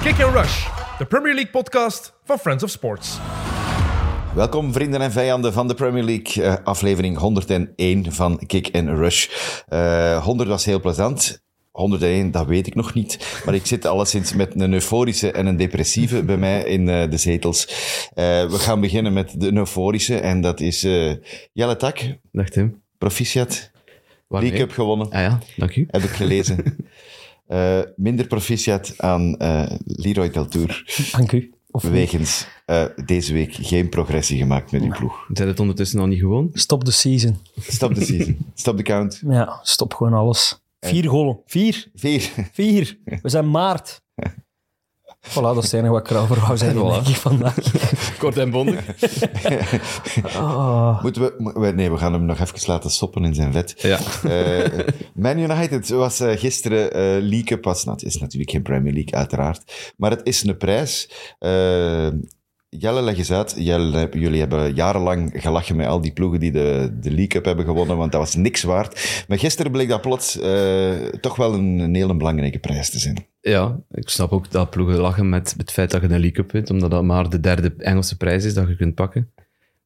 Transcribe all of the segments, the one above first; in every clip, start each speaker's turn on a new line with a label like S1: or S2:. S1: Kick and Rush, de Premier League podcast van Friends of Sports.
S2: Welkom vrienden en vijanden van de Premier League, eh, aflevering 101 van Kick and Rush. Eh, 100 was heel plezant. 101, dat weet ik nog niet. Maar ik zit alleszins met een euforische en een depressieve bij mij in eh, de zetels. Eh, we gaan beginnen met de euforische en dat is eh, Jelle Tak,
S3: Dag Tim.
S2: proficiat.
S3: Waarmee?
S2: League Cup gewonnen,
S3: Ah ja, dank u.
S2: heb ik gelezen. Eh, minder proficiat aan eh, Leroy Deltour.
S4: Dank u. Of
S2: Wegens eh, deze week geen progressie gemaakt met uw ploeg.
S3: Zijn het ondertussen al niet gewoon?
S4: Stop de season.
S2: Stop de season. Stop de count.
S4: Ja, stop gewoon alles. Vier golen. Vier.
S2: Vier.
S4: Vier. We zijn maart. Voilà, dat is het enige wat ik erover wou zeggen,
S3: Voilà.
S4: denk ik, vandaag.
S3: Kort en bondig.
S4: Oh.
S2: Moeten we, mo- we- nee, we gaan hem nog even laten stoppen in zijn vet.
S3: Ja.
S2: Eh, Man United was eh, gisteren eh League Cup. Was, nat- is natuurlijk geen Premier League, uiteraard. Maar het is een prijs. Eh, Jelle, leg eens uit. Jelle, jullie hebben jarenlang gelachen met al die ploegen die de, de League Cup hebben gewonnen, want dat was niks waard. Maar gisteren bleek dat plots eh, toch wel een, een hele belangrijke prijs te zijn.
S3: Ja, ik snap ook dat ploegen lachen met het feit dat je een League Cup wint, omdat dat maar de derde Engelse prijs is dat je kunt pakken.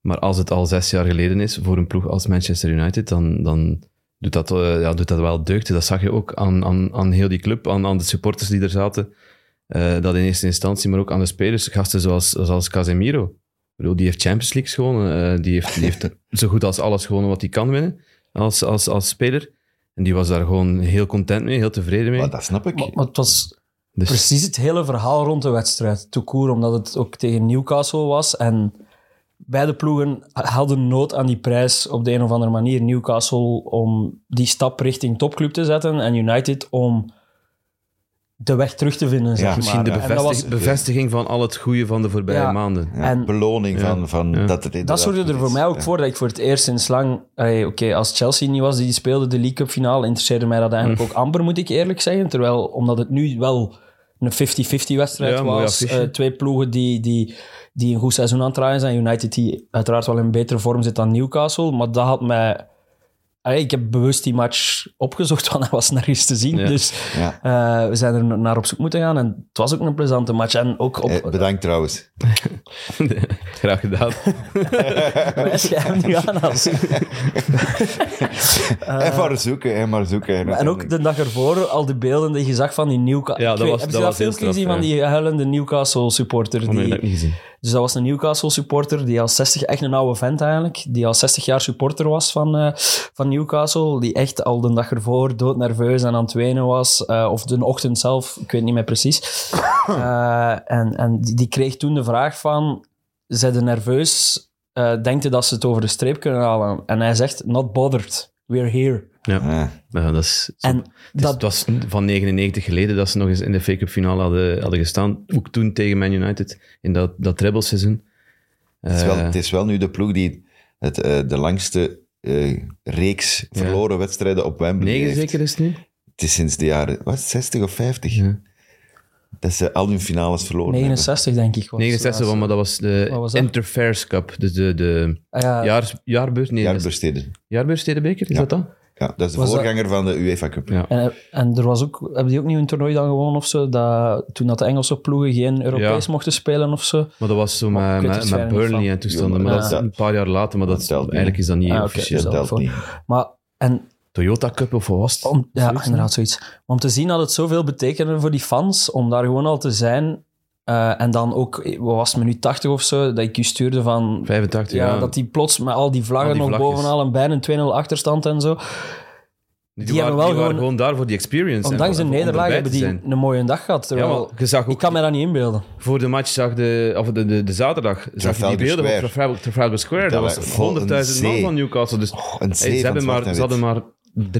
S3: Maar als het al zes jaar geleden is voor een ploeg als Manchester United, dan, dan doet, dat, eh, ja, doet dat wel deugd. Dat zag je ook aan, aan, aan heel die club, aan, aan de supporters die er zaten. eh, dat in eerste instantie, maar ook aan de spelers. Gasten zoals, zoals Casemiro. Ik bedoel, die heeft Champions League gewonnen. eh, die heeft, die heeft zo goed als alles gewonnen wat hij kan winnen als, als, als speler. En die was daar gewoon heel content mee, heel tevreden mee.
S2: Maar dat snap ik.
S4: Maar, maar het was
S3: Dus-
S4: precies het hele verhaal rond de wedstrijd. Toekoer, omdat het ook tegen Newcastle was. En beide ploegen hadden nood aan die prijs op de een of andere manier. Newcastle om die stap richting topclub te zetten. En United om de weg terug te vinden, zeg maar.
S3: Misschien de
S4: En dat was-
S3: bevestig- bevestiging van al het goede van de voorbije
S4: Ja.
S3: maanden.
S2: Ja,
S4: en-
S2: beloning van, van dat het
S4: Dat
S2: inderdaad
S4: zorgde
S2: goed
S4: er voor
S2: is.
S4: mij ook
S2: Ja.
S4: voor dat ik voor het eerst sinds lang... allee, Oké, als Chelsea niet was die speelde de League Cup finale, interesseerde mij dat
S2: Mm.
S4: eigenlijk ook amper, moet ik eerlijk zeggen. Terwijl, omdat het nu wel een 50-50 wedstrijd
S3: Ja, mooi
S4: was.
S3: affiche.
S4: eh, twee ploegen die, die, die een goed seizoen aan het draaien zijn. United die uiteraard wel in betere vorm zit dan Newcastle. Maar dat had mij... allee, ik heb bewust die match opgezocht, want hij was nergens te zien.
S3: Ja.
S4: Dus
S2: Ja.
S4: eh, we zijn er naar op zoek moeten gaan. En het was ook een plezante match. En ook op...
S2: Eh, bedankt trouwens.
S3: Graag gedaan.
S4: Wij schrijven nu aan als...
S3: Eh.
S2: en maar zoeken, en maar zoeken.
S4: Maar En ook de dag ervoor, al die beelden die je zag van die Newcastle...
S3: Ja, dat
S4: Ik weet-
S3: was-
S4: Heb je
S3: dat
S4: dat
S3: was heel
S4: filmpje gezien
S3: straf,
S4: van
S3: ja.
S4: die huilende Newcastle-supporter?
S3: Oh, nee,
S4: die-
S3: dat heb ik niet gezien.
S4: dus dat was een Newcastle-supporter die al 60... Echt een oude vent eigenlijk. Die al 60 jaar supporter was van, eh, van Newcastle. Die echt al de dag ervoor doodnerveus en aan het wenen was. eh, of de ochtend zelf, ik weet niet meer precies. Eh, en en die, die kreeg toen de vraag van... Zijn ze nerveus? Eh denkt je dat ze het over de streep kunnen halen? En hij zegt, not bothered. We're here.
S3: Ja, dat is,
S4: En
S3: het, is-
S4: dat-
S3: het was van 99 geleden dat ze nog eens in de FA Cup finale hadden, hadden gestaan. Ook toen tegen Man United in dat, dat trebleseizoen.
S2: het, is wel,
S3: Eh,
S2: het is wel nu de ploeg die het, eh, de langste eh, reeks verloren wedstrijden op Wembley
S3: Negen
S2: heeft.
S3: zeker is het nu?
S2: Het is sinds de jaren wat, 60 of 50
S3: Ja.
S2: dat ze al hun finales verloren hebben.
S4: 69, denk ik. was
S3: 69,
S4: het
S3: want- maar dat was de
S4: Wat was dat?
S3: Interfairs Cup. Dus de, de
S4: laatste. Ah, ja,
S3: jaars, jaarbeurs, nee,
S2: Ja,
S3: dat
S2: de
S3: is-
S2: Bursteden.
S3: jaarbeursstedenbeker, is
S2: Ja.
S3: dat dan?
S2: Ja, dat is de
S4: Was dat-
S2: voorganger van de UEFA Cup.
S3: Ja.
S4: en, en er was ook, hebben die ook niet een toernooi dan gewonnen of zo? Dat, toen dat de Engelse ploegen geen Europees
S3: Ja.
S4: mochten spelen of zo.
S3: Maar dat was zo
S4: Maar
S3: met,
S4: ik weet
S3: met,
S4: het
S3: met
S4: verder niet
S3: Burnley
S4: van.
S3: en toestanden.
S2: Ja,
S3: Maar
S2: maar
S3: dat is
S2: dat-
S3: een paar jaar later, maar dat,
S2: Dat telt niet.
S3: eigenlijk is dat niet
S4: Ah, oké.
S3: officieel.
S2: Dat
S4: Zelf
S2: telt
S4: voor.
S2: niet.
S4: Maar, en
S3: Toyota Cup of wat was het?
S4: om, ja,
S3: Zoiets,
S4: inderdaad, zoiets. Om te zien dat het zoveel betekende voor die fans, om daar gewoon al te zijn. eh, en dan ook, eh, wat was het, minuut 80 of zo, dat ik u stuurde van...
S3: 85,
S4: Ja,
S3: ja.
S4: dat die plots met al die vlaggen
S3: Al die
S4: nog
S3: vlagjes.
S4: bovenal en bijna een 2-0 achterstand en zo.
S3: Die,
S4: Die
S3: waren,
S4: hebben wel
S3: die waren
S4: gewoon-
S3: gewoon daar voor die experience. en
S4: Ondanks
S3: voor-
S4: een
S3: om
S4: nederlaag
S3: erbij
S4: hebben
S3: te
S4: die
S3: zijn.
S4: een mooie dag gehad.
S3: Ja,
S4: Terwijl,
S3: maar je zag ook
S4: ik kan mij dat niet inbeelden.
S3: voor de match, zag de, of de, de, de zaterdag, zag je die
S2: Trafalgar
S3: beelden
S2: Square.
S3: van Trafalgar, Trafalgar Square. Dat,
S2: Dat
S3: was
S2: was vol
S3: 100.000
S2: een
S3: man
S2: zee.
S3: van Newcastle. Dus,
S2: een
S3: hey,
S2: zee
S3: ze,
S2: van
S3: hebben
S2: zwart
S3: maar,
S2: en
S3: ze hadden
S2: wit.
S3: maar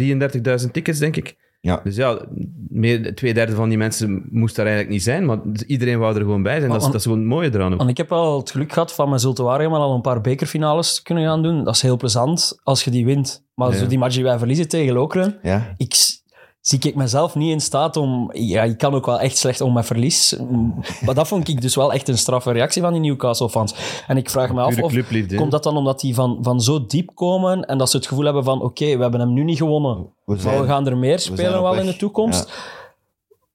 S3: 33.000 tickets, denk ik.
S2: Ja.
S3: Dus ja, meer, twee derde van die mensen moest daar eigenlijk niet zijn. Maar iedereen wou er gewoon bij zijn. Dat is,
S4: want-
S3: dat is gewoon het mooie eraan ook.
S4: Want ik heb wel het geluk gehad van mijn Zulte Waregem al een paar bekerfinales te kunnen gaan doen. Dat is heel plezant als je die wint. Maar
S3: Ja.
S4: zo die match die wij verliezen tegen Lokeren,
S2: Ja.
S4: ik, s- zie ik mezelf niet in staat om... Ja, ik kan ook wel echt slecht om mijn verlies. Mm, Maar dat vond ik dus wel echt een straffe reactie van die Newcastle-fans. En ik vraag me af
S3: Pure
S4: of...
S3: clubliefde. hè.
S4: Komt dat dan omdat die van, van zo diep komen en dat ze het gevoel hebben van oké, we hebben hem nu niet gewonnen,
S2: We
S4: maar
S2: zijn-
S4: we gaan er meer
S2: zijn
S4: spelen
S2: op
S4: wel in
S2: weg.
S4: de toekomst?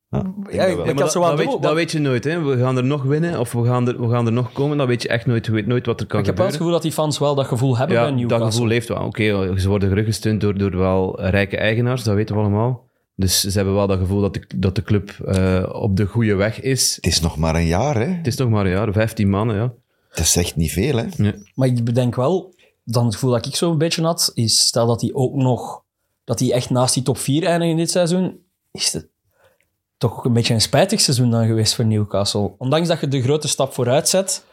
S4: Ja, ik, ik
S3: Ja, maar
S4: had
S3: dat,
S4: zo aan
S3: dat weet, dat weet je nooit. Hè. We gaan er nog winnen of we gaan er, we gaan er nog komen. Dat weet je echt nooit. Je weet nooit wat er kan
S4: Ik heb wel het
S3: gebeuren.
S4: gevoel dat die fans wel dat gevoel hebben bij
S3: ja, dat
S4: Newcastle.
S3: gevoel leeft wel. Oké, eh, ze worden gerugsteund door, door wel rijke eigenaars. Dat weten we allemaal. Dus ze hebben wel dat gevoel dat de, dat de club eh, op de goede weg is.
S2: Het is nog maar een jaar, hè?
S3: Het is nog maar een jaar, 15 mannen. Ja.
S2: Dat is echt niet veel, hè?
S4: Maar ik bedenk wel, dan het gevoel dat ik zo'n beetje had, is stel dat hij ook nog, dat hij echt naast die top 4 eindigt in dit seizoen, is het toch ook een beetje een spijtig seizoen dan geweest voor Newcastle. Ondanks dat je de grote stap vooruit zet,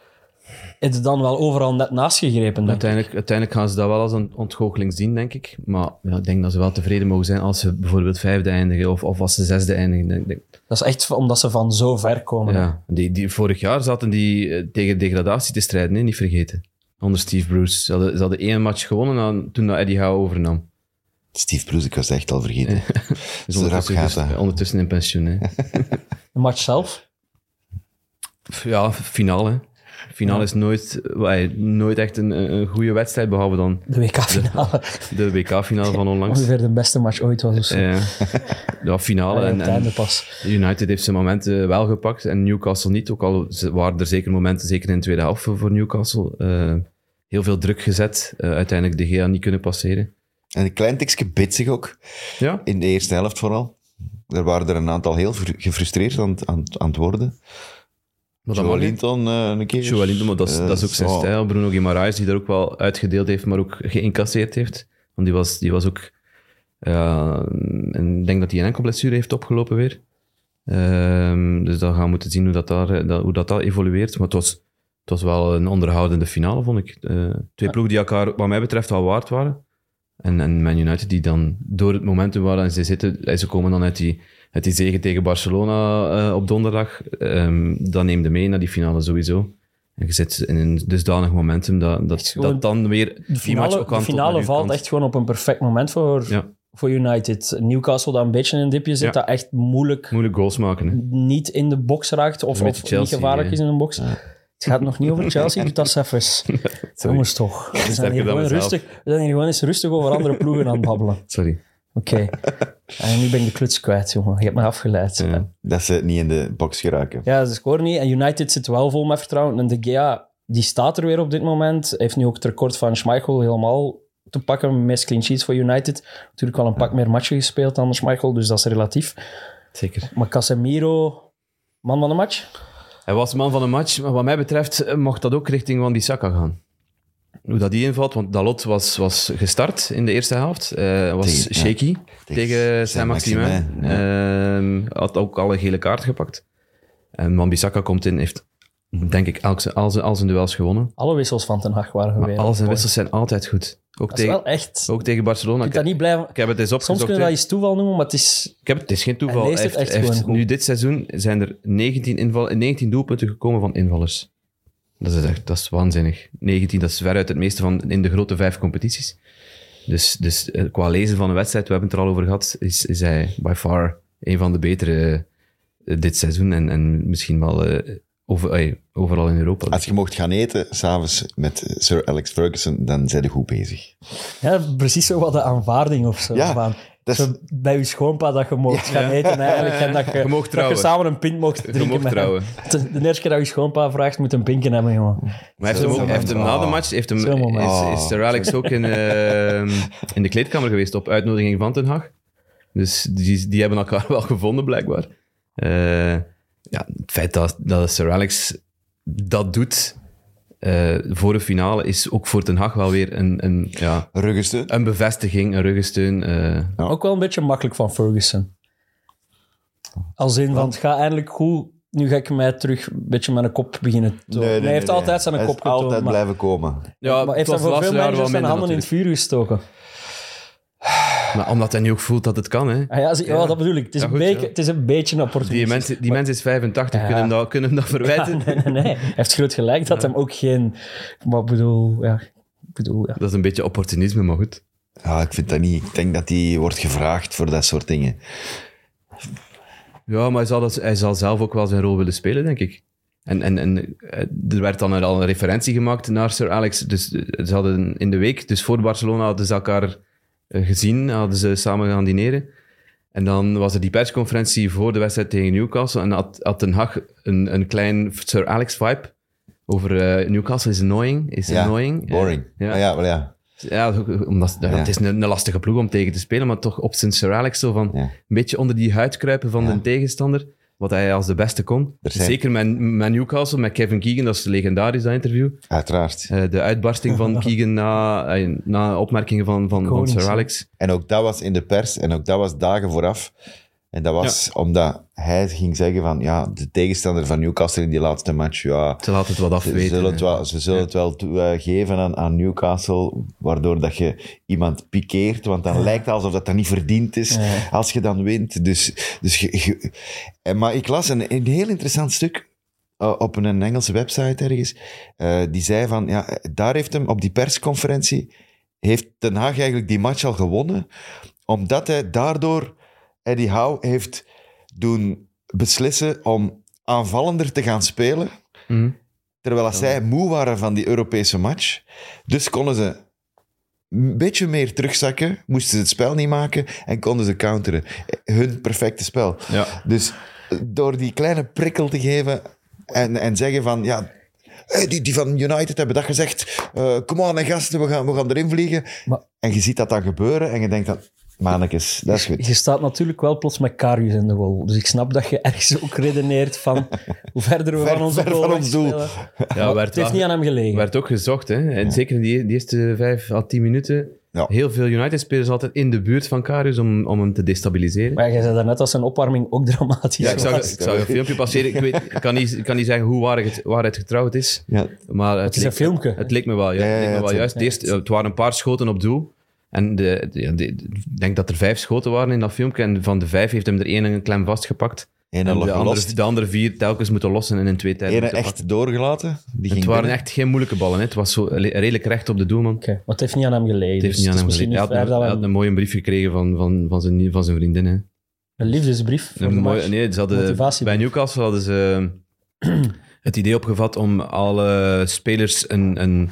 S4: is het dan wel overal net naast gegrepen. denk ik.
S3: Uiteindooglelijk, uiteindelijk gaan ze dat wel als een ontgoocheling zien, denk ik. Maar ja, ik denk dat ze wel tevreden mogen zijn als ze bijvoorbeeld vijfde eindigen of, of als ze zesde eindigen. Denk, denk,
S4: Dat is echt omdat ze van zo ver komen.
S3: Ja, die, die, vorig jaar zaten die eh, tegen degradatie te strijden, hè, niet vergeten. Onder Steve Bruce. Ze hadden, ze hadden één match gewonnen aan, toen dat Eddie Howe overnam.
S2: Steve Bruce, ik was echt al vergeten.
S3: Dus
S2: Zo
S3: ondertussen,
S2: rap gaat
S3: dus-
S2: dat.
S3: ondertussen in pensioen. Hè.
S4: De match zelf,
S3: F- ja, finale. Finale is nooit, wij, nooit echt een, een een goede wedstrijd, behalve dan
S4: de WK-finale,
S3: de WK-finale van onlangs.
S4: ongeveer de beste match ooit was. Of zo.
S3: Eh, ja, finale.
S4: Allee,
S3: En,
S4: op het einde
S3: en
S4: pas.
S3: United heeft zijn momenten wel gepakt en Newcastle niet. Ook al ze- waren er zeker momenten, zeker in de tweede helft voor voor Newcastle. eh, heel veel druk gezet. eh, uiteindelijk de GA niet kunnen passeren.
S2: En een klein tikje bitsig ook,
S3: Ja,
S2: in de eerste helft vooral. Er waren er een aantal heel fru- gefrustreerd aan, het- aan, het- aan het worden.
S3: maar
S2: Joe
S3: dat mag niet.
S2: Linton eh, een keer.
S3: Joe Linton, maar dat is,
S2: Eh,
S3: dat is ook zijn
S2: zo.
S3: stijl. Bruno Guimaraes, die daar ook wel uitgedeeld heeft, maar ook geïncasseerd heeft. Want die was, die was ook... ja, en ik denk dat hij een enkel blessure heeft opgelopen weer. Ehm, dus dan gaan we moeten zien hoe dat, daar, eh, dat- hoe dat, dat evolueert. Maar het was, het was wel een onderhoudende finale, vond ik. Eh, twee ploegen die elkaar, wat mij betreft, al waard waren. En, en Man United, die dan door het momentum waarin ze zitten, eh, ze komen dan uit die, uit die zege tegen Barcelona eh, op donderdag, Ehm dan neem je mee naar die finale sowieso. En je zit in een dusdanig momentum dat, dat,
S4: gewoon-
S3: dat dan weer
S4: De finale, de finale valt echt gewoon op een perfect moment voor,
S3: Ja.
S4: voor United. Newcastle dat een beetje in een dipje zit,
S3: Ja.
S4: dat echt moeilijk
S3: Moeilijk goals maken, hè.
S4: niet in de box raakt of,
S3: Een
S4: of
S3: beetje
S4: niet
S3: Chelsea,
S4: gevaarlijk
S3: hè.
S4: is in een box. Het gaat nog niet over Chelsea, doet dat zelf eens. Jongens toch, we zijn,
S3: Sterker
S4: hier
S3: dan
S4: gewoon
S3: mezelf.
S4: rustig, we zijn hier gewoon eens rustig over andere ploegen aan het babbelen.
S3: Sorry.
S4: Oké. En nu ben ik de kluts kwijt, jongen. Je hebt me afgeleid.
S3: Ja.
S2: Dat ze niet in de box geraken.
S4: Ja, ze scoren niet. En United zit wel vol met vertrouwen. En De Gea, die staat er weer op dit moment. Heeft nu ook het record van Schmeichel helemaal te pakken. Meest clean sheets voor United. Natuurlijk wel een pak meer matchen gespeeld dan Schmeichel, dus dat is relatief.
S3: Zeker.
S4: Maar Casemiro, man van de match.
S3: Hij was man van de match, maar wat mij betreft eh, mocht dat ook richting Wan Bissaka gaan. Hoe dat die invalt, want Dalot was, was gestart in de eerste helft. eh was
S2: Tegen- ja.
S3: shaky
S2: Tegen
S3: tegen
S2: Saint-Maximin,
S3: Saint-Maximin. Ehm, had ook al een gele kaart gepakt. En Wan Bissaka komt in, heeft denk ik elk zijn- al zijn, al zijn duels gewonnen.
S4: Alle wissels van Ten Hag waren
S3: Maar
S4: geweest.
S3: al zijn wissels zijn altijd goed. Ook,
S4: Dat is wel
S3: tegen,
S4: echt...
S3: ook tegen Barcelona.
S4: Ik
S3: Ik,
S4: kan dat niet blijven...
S3: ik heb het eens
S4: Soms
S3: opgezocht.
S4: kunnen we
S3: hè.
S4: dat iets toeval noemen, maar het is...
S3: Ik heb, het is geen toeval.
S4: Hij leest het
S3: heeft,
S4: echt
S3: heeft
S4: gewoon goed.
S3: nu dit seizoen zijn er 19, inval, 19 doelpunten gekomen van invallers. Dat is echt dat is waanzinnig. 19, dat is veruit het meeste van in de grote vijf competities. Dus, dus eh, qua lezen van een wedstrijd, we hebben het er al over gehad, is, is hij by far een van de betere eh, dit seizoen. En, en misschien wel eh, over, eh, overal in Europa.
S2: Als je mocht gaan eten, s'avonds met eh, Sir Alex Ferguson, dan zijn ze goed bezig.
S4: Ja, precies zo wat de aanvaarding of zo.
S2: Ja,
S4: Van-
S2: dat is-
S4: zo bij je schoonpa dat je mocht gaan eten eigenlijk. En dat je,
S3: Je mocht
S4: dat je
S3: trouwen.
S4: samen een pint mocht drinken
S3: mocht
S4: met hem.
S3: trouwen.
S4: De, de eerste keer dat je schoonpa vraagt, moet een pinken hebben, jongen.
S3: Maar hij heeft hem, ook, hij heeft hem na de match, heeft hem,
S4: Zo'n moment.
S3: is, is Sir Alex ook in, ehm, in de kleedkamer geweest op uitnodiging van Ten Hag. Dus die, die hebben elkaar wel gevonden, blijkbaar. Eh, ja, het feit dat, dat Sir Alex dat doet eh, voor een finale is ook voor Ten Hag wel weer een, een, ja,
S2: Ruggensteun.
S3: een bevestiging, een ruggensteun. eh.
S2: Ja.
S4: Ook wel een beetje makkelijk van Ferguson. Als in van, het gaat eindelijk goed. Nu ga ik mij terug een beetje met een kop beginnen te tonen. hij heeft altijd zijn
S2: Hij is
S4: kop getoond.
S2: altijd
S4: maar,
S2: blijven komen.
S3: ja, het
S4: maar heeft hij
S3: was
S4: voor
S3: laatste
S4: veel
S3: jaar wel
S4: managers zijn
S3: minder
S4: handen in het vuur gestoken.
S3: natuurlijk. Maar omdat hij nu ook voelt dat het kan, hè.
S4: Ah, ja, zie- ja, dat bedoel ik. Het is,
S3: Ja,
S4: een,
S3: goed,
S4: beetje,
S3: ja.
S4: het is een beetje een opportunist.
S3: Die mens, die mens is 85, kunnen hem dat, kunnen hem dat verwijten?
S4: nee, nee, nee. Hij heeft groot gelijk dat hem ook geen... Maar ik bedoel, ja... ik Bedoel, ja.
S3: Dat is een beetje opportunisme, maar goed.
S2: Ja, ik vind dat niet. Ik denk dat hij wordt gevraagd voor dat soort dingen.
S3: Ja, maar hij zal, dat, hij zal zelf ook wel zijn rol willen spelen, denk ik. En, en, en eh, er werd dan al een referentie gemaakt naar Sir Alex. Dus eh, ze hadden in de week, dus voor Barcelona, hadden ze elkaar eh, gezien, hadden ze samen gaan dineren. En dan was er die persconferentie voor de wedstrijd tegen Newcastle. En had, had Den Haag een, een klein Sir Alex vibe over eh, Newcastle is annoying. Is
S2: Ja,
S3: annoying.
S2: boring.
S3: Ja.
S2: Ah, ja, wel ja.
S3: Ja, dat is ook- omdat, ja,
S2: Ja.
S3: het is een, een lastige ploeg om tegen te spelen, maar toch op zijn Sir Alex zo van
S2: Ja.
S3: een beetje onder die huid kruipen van
S2: Ja.
S3: de tegenstander, wat hij als de beste kon.
S2: Er zijn-
S3: Zeker met, met Newcastle, met Kevin Keegan, dat is legendarisch dat interview.
S2: Uiteraard.
S3: Eh, de uitbarsting van Keegan na, eh, na opmerkingen van, van, van
S4: Konings,
S3: Sir
S4: hè.
S3: Alex.
S2: En ook dat was in de pers en ook dat was dagen vooraf. En dat was omdat hij ging zeggen van, ja, de tegenstander van Newcastle in die laatste match, ja,
S3: Ze laten het wat
S2: ze
S3: afweten.
S2: zullen het
S3: hè.
S2: wel, ze zullen het wel toe- eh, geven aan, aan Newcastle, waardoor dat je iemand pikeert, want dan lijkt het alsof dat, dat niet verdiend is
S4: Ja.
S2: als je dan wint. Dus, dus je- je- en, maar ik las een, een heel interessant stuk eh, op een Engelse website ergens, eh, die zei van, ja, daar heeft hem op die persconferentie, heeft Den Haag eigenlijk die match al gewonnen, omdat hij daardoor Eddie Howe heeft doen beslissen om aanvallender te gaan spelen,
S3: Mhm.
S2: Terwijl als zij moe waren van die Europese match. Dus konden ze een beetje meer terugzakken, moesten ze het spel niet maken en konden ze counteren. Hun perfecte spel.
S3: Ja.
S2: Dus door die kleine prikkel te geven en, en zeggen van... Ja, hey, die, die van United hebben dat gezegd. eh kom aan, hè, gasten, we gaan, we gaan erin vliegen.
S4: Maar-
S2: En je ziet dat dan gebeuren en je denkt dan... Mannekes, dat is goed.
S4: Je staat natuurlijk wel plots met Karius in de goal. Dus ik snap dat je ergens ook redeneert van hoe verder we
S2: Ver-
S4: van onze
S2: ver
S4: goal
S2: van ons doel.
S4: wegspelen.
S3: Ja,
S4: Het
S3: werd,
S4: heeft
S3: wel-
S4: niet aan hem gelegen.
S3: werd ook gezocht. Hè? En zeker in die, die eerste vijf à tien minuten.
S2: Ja.
S3: Heel veel United-spelers altijd in de buurt van Karius om, om hem te destabiliseren.
S4: Maar jij zei daarnet dat zijn opwarming ook dramatisch
S3: Ja, ik zag,
S4: was.
S3: ik zag een filmpje passeren. Ik weet, ik kan, niet, ik kan niet zeggen hoe waar het, waar het getrouwd is.
S2: Ja,
S3: Maar het,
S4: Het is een
S3: leek,
S4: filmpje.
S3: het leek me wel, ja,
S2: Ja, ja,
S3: het leek me
S2: ja,
S3: wel
S2: het-
S3: juist. Het, eerst, het waren een paar schoten op doel. En de, de- de- ik denk dat er vijf schoten waren in dat filmpje. En van de vijf heeft hem er één een klem vastgepakt.
S2: en
S3: En
S2: dan
S3: de andere,
S2: gelost.
S3: de andere vier telkens moeten lossen en in twee tijden.
S2: Ene
S3: moeten pakken.
S2: echt doorgelaten. Die ging
S3: Het waren
S2: binnen.
S3: echt geen moeilijke ballen. Hè. Het was zo le- redelijk recht op de doelman.
S4: Oké, maar het heeft niet aan hem gelegen.
S3: Het heeft
S4: dus
S3: niet aan hem
S4: het is misschien
S3: gelegen. Hij had,
S4: niet fair
S3: een,
S4: dat we
S3: hij
S4: hem-
S3: had een mooie brief gekregen van, van, van, zijn, van zijn vriendin. Hè.
S4: een liefdesbrief voor
S3: Een
S4: de
S3: mooie-
S4: match.
S3: nee, ze hadden,
S4: Motivatie.
S3: bij Newcastle hadden ze eh, het idee opgevat om alle spelers een, een,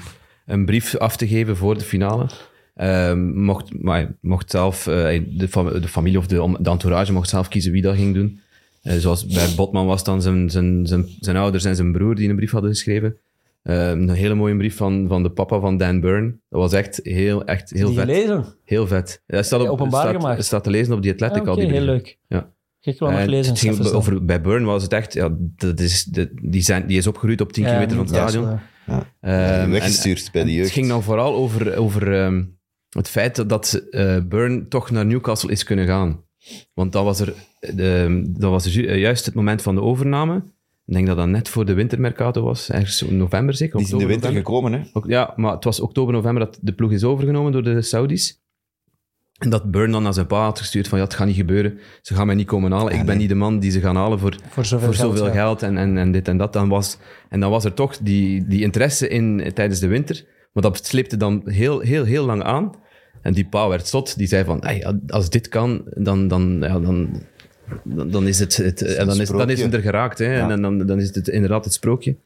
S3: een brief af te geven voor de finale. Ehm, mocht, maar hij mocht zelf, eh, de, fam- de familie of de, om- de entourage mocht zelf kiezen wie dat ging doen. Eh, zoals bij Botman was dan zijn, zijn, zijn, zijn ouders en zijn broer die een brief hadden geschreven. Ehm, een hele mooie brief van, van de papa van Dan Byrne. Dat was echt heel, echt heel
S4: Die
S3: vet.
S4: gelezen?
S3: Heel vet. Dat staat, op,
S4: Ja, openbaar
S3: staat,
S4: gemaakt.
S3: staat te lezen op die
S4: Ja,
S3: Athletic al
S4: oké,
S3: die
S4: heel
S3: brieven.
S4: leuk.
S3: Ja.
S4: Ga ik wel nog
S3: Eh,
S4: lezen.
S3: het ging
S4: Stef, is dat-
S3: over, bij Burn was het echt, ja, dat is, de- die, zijn, die is opgeroeid op 10
S4: Ja,
S3: kilometer van het
S4: ja,
S3: stadion.
S4: ja.
S3: Ehm, en-
S2: Eh, weggestuurd bij de
S3: en
S2: jeugd.
S3: Het ging dan vooral over, over ehm, het feit dat- dat eh Burn toch naar Newcastle is kunnen gaan. Want dat was, er, ehm, dat was ju- eh, juist het moment van de overname. Ik denk dat dat net voor de wintermercato was, ergens in november zeker.
S2: Die is in de
S3: oktober,
S2: winter
S3: november.
S2: gekomen, hè?
S3: Ook- Ja, maar het was oktober, november dat de ploeg is overgenomen door de Saudis. En dat Burn dan naar zijn pa had gestuurd van ja, het gaat niet gebeuren. Ze gaan mij niet komen halen. Ik ben niet de man die ze gaan halen voor,
S4: Ah, Voor zoveel
S3: voor
S4: geld,
S3: zoveel
S4: ja.
S3: geld en, en, en dit en dat. Dan was, en dan was er toch die, die interesse in tijdens de winter. Maar dat sleepte dan heel, heel, heel lang aan. En die pa werd zot. Die zei van, "Hey, als dit kan, dan, dan, ja, dan, dan, dan is het... het en dan, is, dan is het er geraakt. Hè? En, dan- dan, dan is het inderdaad het sprookje.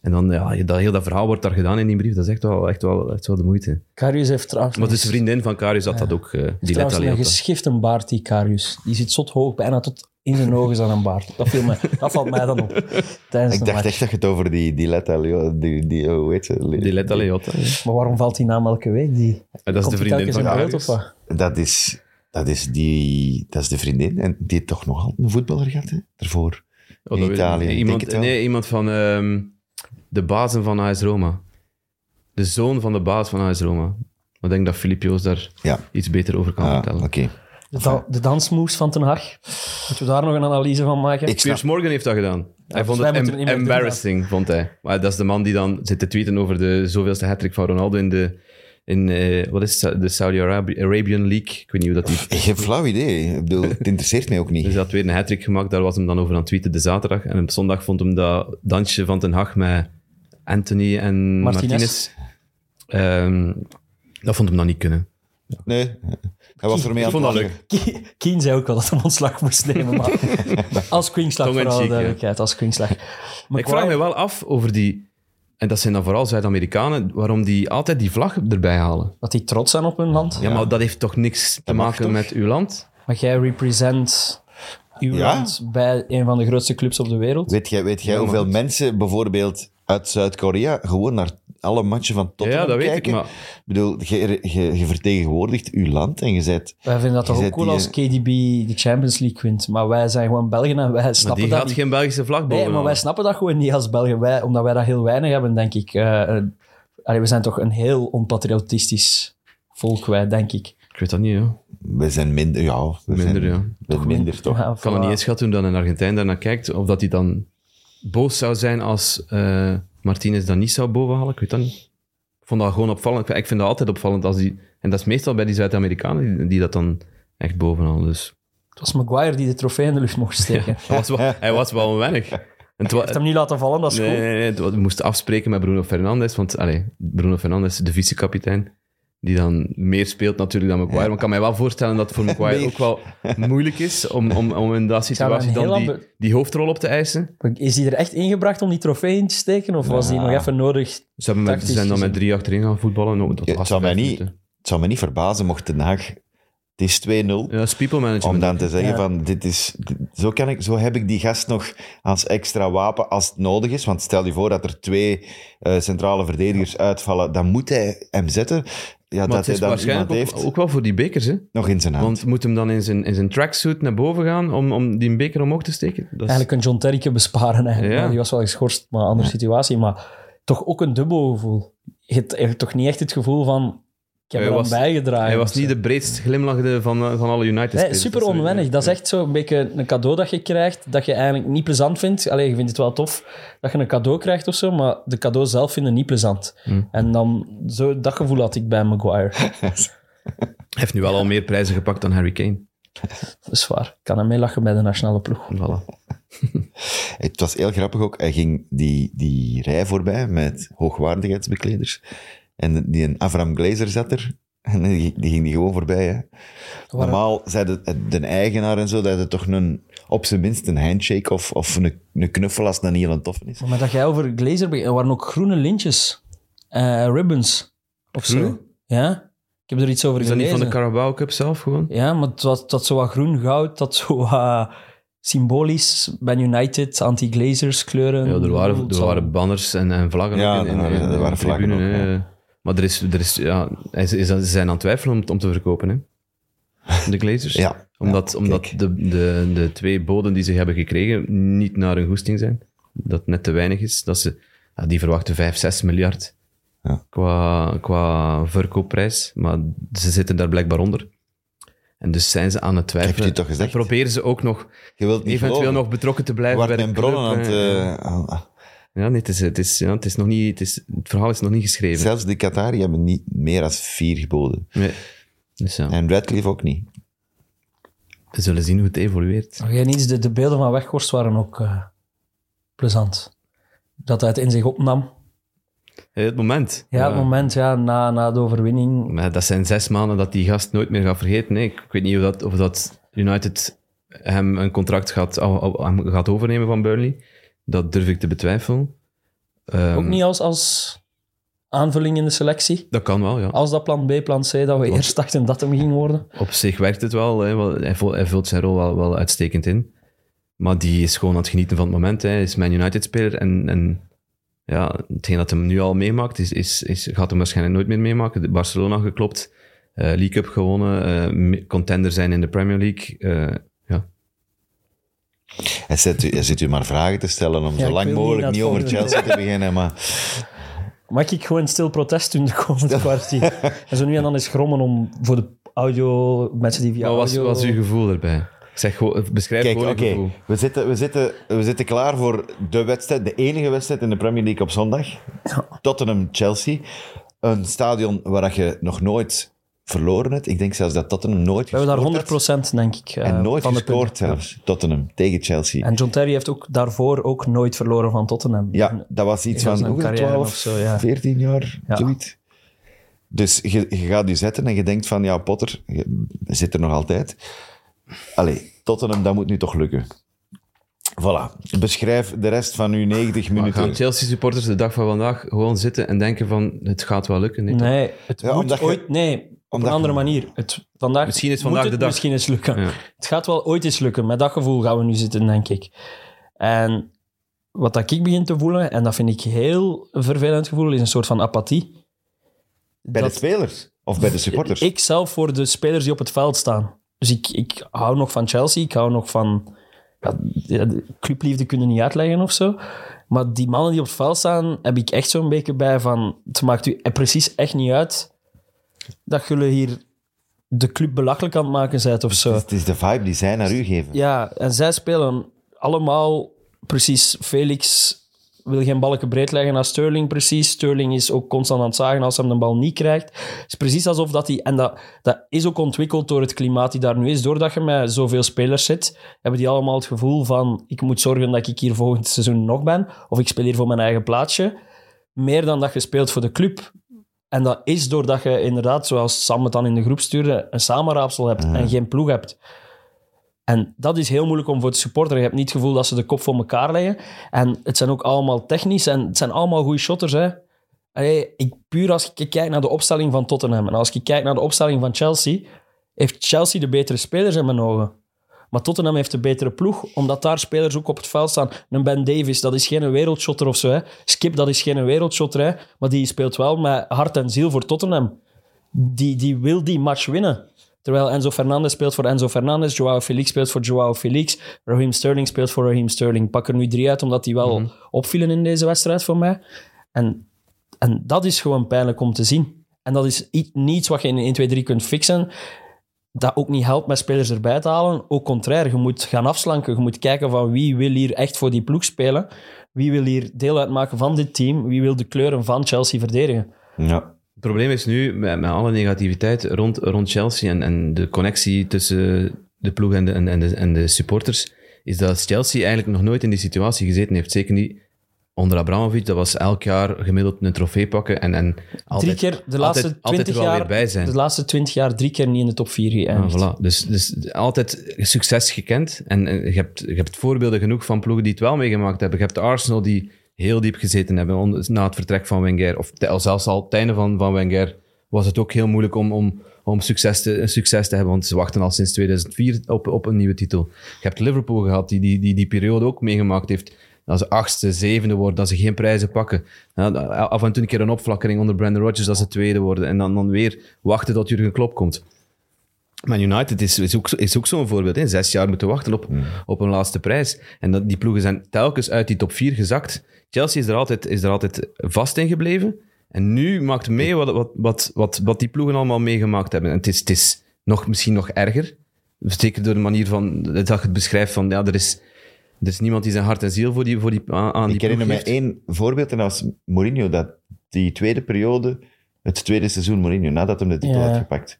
S3: En dan, ja, dat, heel dat verhaal wordt daar gedaan in die brief. Dat is echt wel, echt wel, echt wel de moeite.
S4: Karius heeft trouwens...
S3: Maar dus de vriendin van Karius had dat ook. eh, die let
S4: Trouwens,
S3: alleen
S4: een
S3: op dat.
S4: geschifte baard, die Karius. Die zit zot hoog, bijna tot in zijn ogen aan een baard. Dat, viel mij, dat valt mij dan op. Tijdens
S2: Ik
S4: de
S2: dacht
S4: match.
S2: echt dat je het over die, die Letta Leo- die, die, eh, hoe heet ze? Le-
S3: Die let alleen op dat, hè.
S4: Maar waarom valt die naam elke week? Die,
S3: En Dat is de
S4: komt die
S3: vriendin
S4: telkens
S3: van
S4: in beeld,
S3: Karius.
S4: of wat?
S2: Dat is, dat is die, dat is de vriendin en die heeft toch nog altijd een voetballer gehad, hè? Daarvoor.
S3: Oh,
S2: in
S3: dat weet ik
S2: Italië,
S3: niet.
S2: ik
S3: Iemand,
S2: denk het wel.
S3: nee, iemand van ehm, de bazen van AS Roma. De zoon van de baas van AS Roma. Maar ik denk dat Filip Joos daar
S2: Ja.
S3: iets beter over kan
S2: Ah,
S3: vertellen.
S2: oké.
S4: De, da- de dansmoves van Ten Hag. Moeten we daar nog een analyse van maken?
S2: Ik snap,
S3: Piers Morgan heeft dat gedaan. hij
S4: dus
S3: vond
S4: wij
S3: het
S4: moeten
S3: em-
S4: niet meer doen,
S3: embarrassing, vond hij. Maar dat is de man die dan zit te tweeten over de zoveelste hattrick van Ronaldo in de, in, eh, wat is het, de Saudi Arabi- Arabian League. Ik weet niet hoe dat die...
S2: ik heb flauw idee. Ik bedoel, het interesseert mij ook
S3: Dus
S2: niet.
S3: hij had weer een hattrick gemaakt, daar was hem dan over aan het tweeten de zaterdag. En op zondag vond hem dat dansje van Ten Hag met Anthony en
S4: Martinez.
S3: Martinez. ehm, dat vond hem dan niet kunnen.
S2: Nee, hij was ermee
S3: Ik
S2: aan het
S3: vond dat
S2: lachen.
S3: leuk.
S4: Keen- Keen zei ook wel dat hij ontslag moest nemen, maar als kwinkslag
S3: Tong en
S4: voor alle
S3: cheek, ja.
S4: duidelijkheid, als kwinkslag.
S3: Ik vraag me wel af over die, en dat zijn dan vooral Zuid-Amerikanen, waarom die altijd die vlag erbij halen.
S4: Dat die trots zijn op hun land.
S3: Ja, maar dat heeft toch niks te
S2: mag
S3: maken
S2: toch?
S3: met uw land?
S4: Maar jij represent uw
S2: Ja.
S4: land bij een van de grootste clubs op de wereld.
S2: Weet jij, weet jij hoeveel mensen bijvoorbeeld uit Zuid-Korea gewoon naar alle matchen van Tottenham
S3: Ja, dat weet ik,
S2: kijken?
S3: maar-
S2: ik bedoel, je, je, je vertegenwoordigt uw land en je bent...
S4: Wij vinden dat
S2: Je
S4: toch ook
S2: zet
S4: cool
S2: die-
S4: als KDB de Champions League wint. Maar wij zijn gewoon Belgen en wij
S3: Maar
S4: snappen
S3: die
S4: dat
S3: gaat
S4: niet.
S3: geen Belgische vlag boven.
S4: Nee, maar wij snappen dat gewoon niet als Belgen. Wij, omdat wij dat heel weinig hebben, denk ik. Eh, eh, allee, we zijn toch een heel onpatriotistisch volk, wij, denk ik.
S3: Ik weet dat niet, joh.
S2: We zijn minder, ja. We
S3: Minder,
S2: zijn,
S3: ja.
S2: we zijn minder, toch?
S4: Ja,
S3: Ik kan het
S4: voilà.
S3: niet inschatten hoe dan een Argentijn daarnaar kijkt. Of dat hij dan boos zou zijn als eh Martinez dat niet zou bovenhalen. Ik weet dat niet. Ik vond dat gewoon opvallend. Ik vind dat altijd opvallend. Als die, en dat is meestal bij die Zuid-Amerikanen die, die dat dan echt bovenhalen. Dus
S4: Het was Maguire die de trofee in de lucht mocht steken.
S3: hij was wel, hij was wel onwennig. En het wa-
S4: Ik heb hem niet laten vallen, dat is
S3: nee,
S4: goed.
S3: nee, nee, het wa- we moesten afspreken met Bruno Fernandes. Want allee, Bruno Fernandes, de vice-kapitein, die dan meer speelt natuurlijk dan Maguire. Maar ik kan mij wel voorstellen dat het voor Maguire
S2: Meer.
S3: ook wel moeilijk is om, om, om in dat
S4: zou
S3: situatie
S4: een
S3: dan
S4: heel
S3: die,
S4: ander-
S3: die hoofdrol op te eisen.
S4: Is hij er echt ingebracht om die trofee in te steken? Of was die nog even nodig?
S3: Ze hebben met,
S4: Tactisch
S3: zijn dan met
S4: gezien.
S3: drie achterin gaan voetballen. Nou, dat
S2: Ja, het,
S3: was
S2: zou mij
S3: vijf
S2: niet,
S3: minuten.
S2: het zou mij niet verbazen mocht Den Haag... Het is 2-0.
S3: Ja, dat is people management.
S2: Om dan te zeggen
S4: Ja.
S2: van, dit is, dit- zo, kan ik, zo heb ik die gast nog als extra wapen als het nodig is. Want stel je voor dat er twee eh, centrale verdedigers uitvallen, dan moet hij hem zetten. Ja,
S3: maar
S2: dat
S3: het
S2: hij
S3: is
S2: dan iemand
S3: waarschijnlijk
S2: heeft
S3: ook, ook wel voor die bekers, hè?
S2: nog in zijn hand.
S3: Want moet hem dan in zijn, in zijn tracksuit naar boven gaan om, om die beker omhoog te steken? Dat is,
S4: Eigenlijk een John Terke besparen. Eigenlijk.
S3: Dus- Ja.
S4: Ja, Die was wel geschorst, maar een andere situatie. Maar toch ook een dubbel gevoel. Je hebt echt- toch niet echt het gevoel van... Ik heb
S3: Hij
S4: er aan
S3: was-
S4: bijgedragen.
S3: hij was
S4: of zo.
S3: niet de breedst glimlachende van, eh, van alle United
S4: Nee,
S3: spelers.
S4: super
S3: Dat is-
S4: onwennig. Dat is echt zo'n beetje een cadeau dat je krijgt, dat je eigenlijk niet plezant vindt. Allee, je vindt het wel tof dat je een cadeau krijgt of zo, maar de cadeau zelf vind je niet plezant.
S3: Hm.
S4: En dan, zo, dat gevoel had ik bij Maguire.
S3: Hij heeft nu wel al meer prijzen gepakt dan Harry Kane.
S4: Dat is waar. Ik kan hem meelachen bij de nationale ploeg.
S3: Voilà.
S2: Het was heel grappig ook. Hij ging die, die rij voorbij met hoogwaardigheidsbekleders. En die een Avram Glazer zat er. En die, die ging die gewoon voorbij. Hè. Normaal zei de, de eigenaar en zo dat het toch een, op zijn minst een handshake of, of een, een knuffel als het een heel toffen is.
S4: Maar dat jij over glazer begint, er waren ook groene lintjes. Eh, ribbons. Of zo.
S3: Groene?
S4: Ja? Ik heb er iets over
S3: Is dat niet
S4: gelezen.
S3: van de Carabao Cup zelf gewoon?
S4: Ja, maar dat was dat zo wat groen-goud, dat zo wat symbolisch. Ben United, anti-glazers kleuren.
S3: Ja, er waren,
S4: Het
S3: er
S4: zal-
S3: waren banners en, en vlaggen.
S2: Ja,
S3: ook in- in-
S2: er waren-
S3: in-
S2: er waren
S3: op de
S2: vlaggen
S3: tribune,
S2: ook,
S3: hè. Maar er is, er is, ja, hij is- is- ze zijn aan het twijfelen om, het- om te verkopen, hè? De Glazers.
S2: Ja.
S3: Omdat,
S2: Ja,
S3: omdat
S2: kijk.
S3: de, de, de twee boden die ze hebben gekregen niet naar hun goesting zijn. Dat net te weinig is. Dat ze, ja, die verwachten 5, 6 miljard
S2: Ja.
S3: qua, qua verkoopprijs. Maar ze zitten daar blijkbaar onder. En dus zijn ze aan het twijfelen.
S2: je het toch gezegd?
S3: En proberen ze ook nog
S2: Je wilt niet
S3: eventueel
S2: geloven.
S3: nog betrokken te blijven
S2: Waar
S3: bij de
S2: mijn bronnen
S3: club,
S2: aan het...
S3: hè.
S2: eh, aan-
S3: Ja, nee, het, is, het, is, ja, het, is nog niet, het, is, het verhaal is nog niet geschreven.
S2: zelfs de Qatari hebben niet meer dan vier geboden.
S3: Nee. Dus ja,
S2: En Radcliffe ook niet.
S3: we zullen zien hoe het evolueert.
S4: Nog één iets, de, de beelden van Weghorst waren ook eh, plezant. Dat hij het in zich opnam.
S3: Eh, Het moment.
S4: Ja, het moment ja, na, na de overwinning.
S3: Maar dat zijn zes maanden dat die gast nooit meer gaat vergeten. Nee, ik weet niet of dat, of dat United hem een contract gaat, oh, oh, hem gaat overnemen van Burnley. Dat durf ik te betwijfelen. Ehm,
S4: Ook niet als, als aanvulling in de selectie.
S3: Dat kan wel, ja.
S4: Als dat plan B, plan C, dat we eerst dachten dat hem ging worden.
S3: Op zich werkt het wel. Hè. wel- Hij, vo- hij vult zijn rol wel, wel uitstekend in. Maar die is gewoon aan het genieten van het moment. Hè. Hij is Man United-speler. En, en ja, hetgeen dat hem nu al meemaakt, is, is, is, gaat hem waarschijnlijk nooit meer meemaken. De Barcelona geklopt, eh, League Cup gewonnen, eh, me- contender zijn in de Premier League. eh, ja.
S2: Hij zit, u, hij zit u maar vragen te stellen om
S4: Ja,
S2: zo
S4: ik
S2: lang
S4: wil niet
S2: mogelijk
S4: naar
S2: niet,
S4: het
S2: over
S4: volgende.
S2: Chelsea te beginnen. Maar
S4: Mag ik gewoon stil protest doen de komende kwartier? En zo nu en dan eens grommen om voor de audio, mensen die via
S3: Wat was,
S4: audio...
S3: was uw gevoel erbij? Ik Zeg, gewoon- beschrijf
S2: Kijk, oké,
S3: gewoon uw gevoel.
S2: we, zitten, we, zitten, we zitten klaar voor de wedstrijd, de enige wedstrijd in de Premier League op zondag. Tottenham-Chelsea. Een stadion waar dat je nog nooit verloren hebt. Ik denk zelfs dat Tottenham nooit
S4: We hebben daar
S2: gescoord
S4: 100 denk ik. eh,
S2: had. En nooit
S4: van de
S2: gescoord
S4: punten.
S2: zelfs, Tottenham, tegen Chelsea.
S4: En John Terry heeft ook daarvoor ook nooit verloren van Tottenham.
S2: ja, dat was iets
S4: in
S2: van
S4: zijn
S2: hoeveel,
S4: carrière
S2: 12,
S4: of zo, ja.
S2: 14 jaar,
S4: Ja.
S2: zoiets. Dus je, je gaat je zetten en je denkt van, ja, Potter je zit er nog altijd. Allee, Tottenham, dat moet nu toch lukken. Voilà. Beschrijf de rest van uw 90
S3: Maar
S2: minuten.
S3: gaan Chelsea-supporters de dag van vandaag gewoon zitten en denken van, het gaat wel lukken? Nee, toch?
S4: Nee, het
S2: Ja,
S4: moet
S2: omdat je-
S4: ooit... Nee, Op een andere manier. Het, vandaag
S3: Misschien is
S4: moet
S3: vandaag
S4: het
S3: de dag.
S4: Misschien eens lukken.
S3: Ja.
S4: Het gaat wel ooit eens lukken. Met dat gevoel gaan we nu zitten, denk ik. En wat dat ik begin te voelen, en dat vind ik heel vervelend gevoel, is een soort van apathie.
S2: Bij
S4: dat-
S2: de spelers of bij de supporters.
S4: Ik zelf voor de spelers die op het veld staan. Dus ik, ik hou nog van Chelsea, ik hou nog van... Ja, ja, de clubliefde kunnen niet uitleggen of zo. Maar die mannen die op het veld staan, heb ik echt zo'n beetje bij van... Het maakt u e- precies echt niet uit dat jullie hier de club belachelijk aan het maken zijn of zo.
S2: het is de vibe die zij naar u geven.
S4: Ja, en zij spelen allemaal precies. Felix wil geen balken breed leggen naar Sterling, precies. Sterling is ook constant aan het zagen als hij hem de bal niet krijgt. Het is precies alsof dat hij... En dat, dat is ook ontwikkeld door het klimaat die daar nu is. Doordat je met zoveel spelers zit, hebben die allemaal het gevoel van... Ik moet zorgen dat ik hier volgend seizoen nog ben. Of ik speel hier voor mijn eigen plaatsje. Meer dan dat je speelt voor de club. En dat is doordat je inderdaad, zoals Sam het dan in de groep stuurde, een samenraapsel hebt en geen ploeg hebt. En dat is heel moeilijk om voor de supporter. Je hebt niet het gevoel dat ze de kop voor elkaar leggen. En het zijn ook allemaal technisch en het zijn allemaal goede shotters. Hè. Allee, ik, puur als ik kijk naar de opstelling van Tottenham en als ik kijk naar de opstelling van Chelsea, heeft Chelsea de betere spelers in mijn ogen. Maar Tottenham heeft de betere ploeg, omdat daar spelers ook op het veld staan. Een Ben Davis, dat is geen wereldshotter of zo. Hè. Skip, dat is geen wereldshotter. Hè. Maar die speelt wel met hart en ziel voor Tottenham die, die wil die match winnen. Terwijl Enzo Fernandez speelt voor Enzo Fernandez, Joao Felix speelt voor Joao Felix, Raheem Sterling speelt voor Raheem Sterling. Pak er nu drie uit, omdat die wel opvielen in deze wedstrijd voor mij. En, en dat is gewoon pijnlijk om te zien. En dat is i- niets wat je in 1, 2, 3 kunt fixen. Dat ook niet helpt met spelers erbij te halen. Ook contrair, je moet gaan afslanken. Je moet kijken van wie wil hier echt voor die ploeg spelen. Wie wil hier deel uitmaken van dit team. Wie wil de kleuren van Chelsea verdedigen.
S2: Ja.
S3: Het probleem is nu, met, met alle negativiteit rond, rond Chelsea en, en de connectie tussen de ploeg en de, en, en de, en de supporters, is dat Chelsea eigenlijk nog nooit in die situatie gezeten heeft. Zeker niet onder Abramovic, dat was elk jaar gemiddeld een trofee pakken en, en altijd,
S4: drie keer de laatste
S3: altijd,
S4: 20
S3: altijd er wel
S4: jaar,
S3: weer bij zijn.
S4: De laatste 20 jaar drie keer niet in de top 4
S3: Ja,
S4: geëindigd.
S3: voilà. dus, dus altijd succes gekend. En, en je, hebt, je hebt voorbeelden genoeg van ploegen die het wel meegemaakt hebben. Je hebt de Arsenal die heel diep gezeten hebben on- na het vertrek van Wenger. Of te- zelfs al het einde van, van Wenger was het ook heel moeilijk om, om, om succes, te, succes te hebben. Want ze wachten al sinds 2004 op, op een nieuwe titel. Je hebt Liverpool gehad die die, die, die periode ook meegemaakt heeft. Dat ze achtste, zevende worden, dat ze geen prijzen pakken. Ja, Af en toe een keer een opflakkering onder Brandon Rodgers, dat ze tweede worden. En dan, dan weer wachten tot Jurgen Klopp komt. Man United is, is ook, is ook zo'n voorbeeld. Hè? Zes jaar moeten wachten op,
S2: Mm.
S3: op een laatste prijs. En dat, die ploegen zijn telkens uit die top 4 gezakt. Chelsea is er altijd, is er altijd vast in gebleven. En nu maakt mee wat, wat, wat, wat, wat die ploegen allemaal meegemaakt hebben. En het is, het is nog, misschien nog erger. Zeker door de manier van, dat je het beschrijft van ja, er, is, er is niemand die zijn hart en ziel voor die, voor die, aan aan die
S2: Ik herinner
S3: ploeg
S2: me
S3: geeft.
S2: één voorbeeld en dat was Mourinho. Dat die tweede periode, het tweede seizoen Mourinho, nadat hem de titel
S4: Ja.
S2: had gepakt.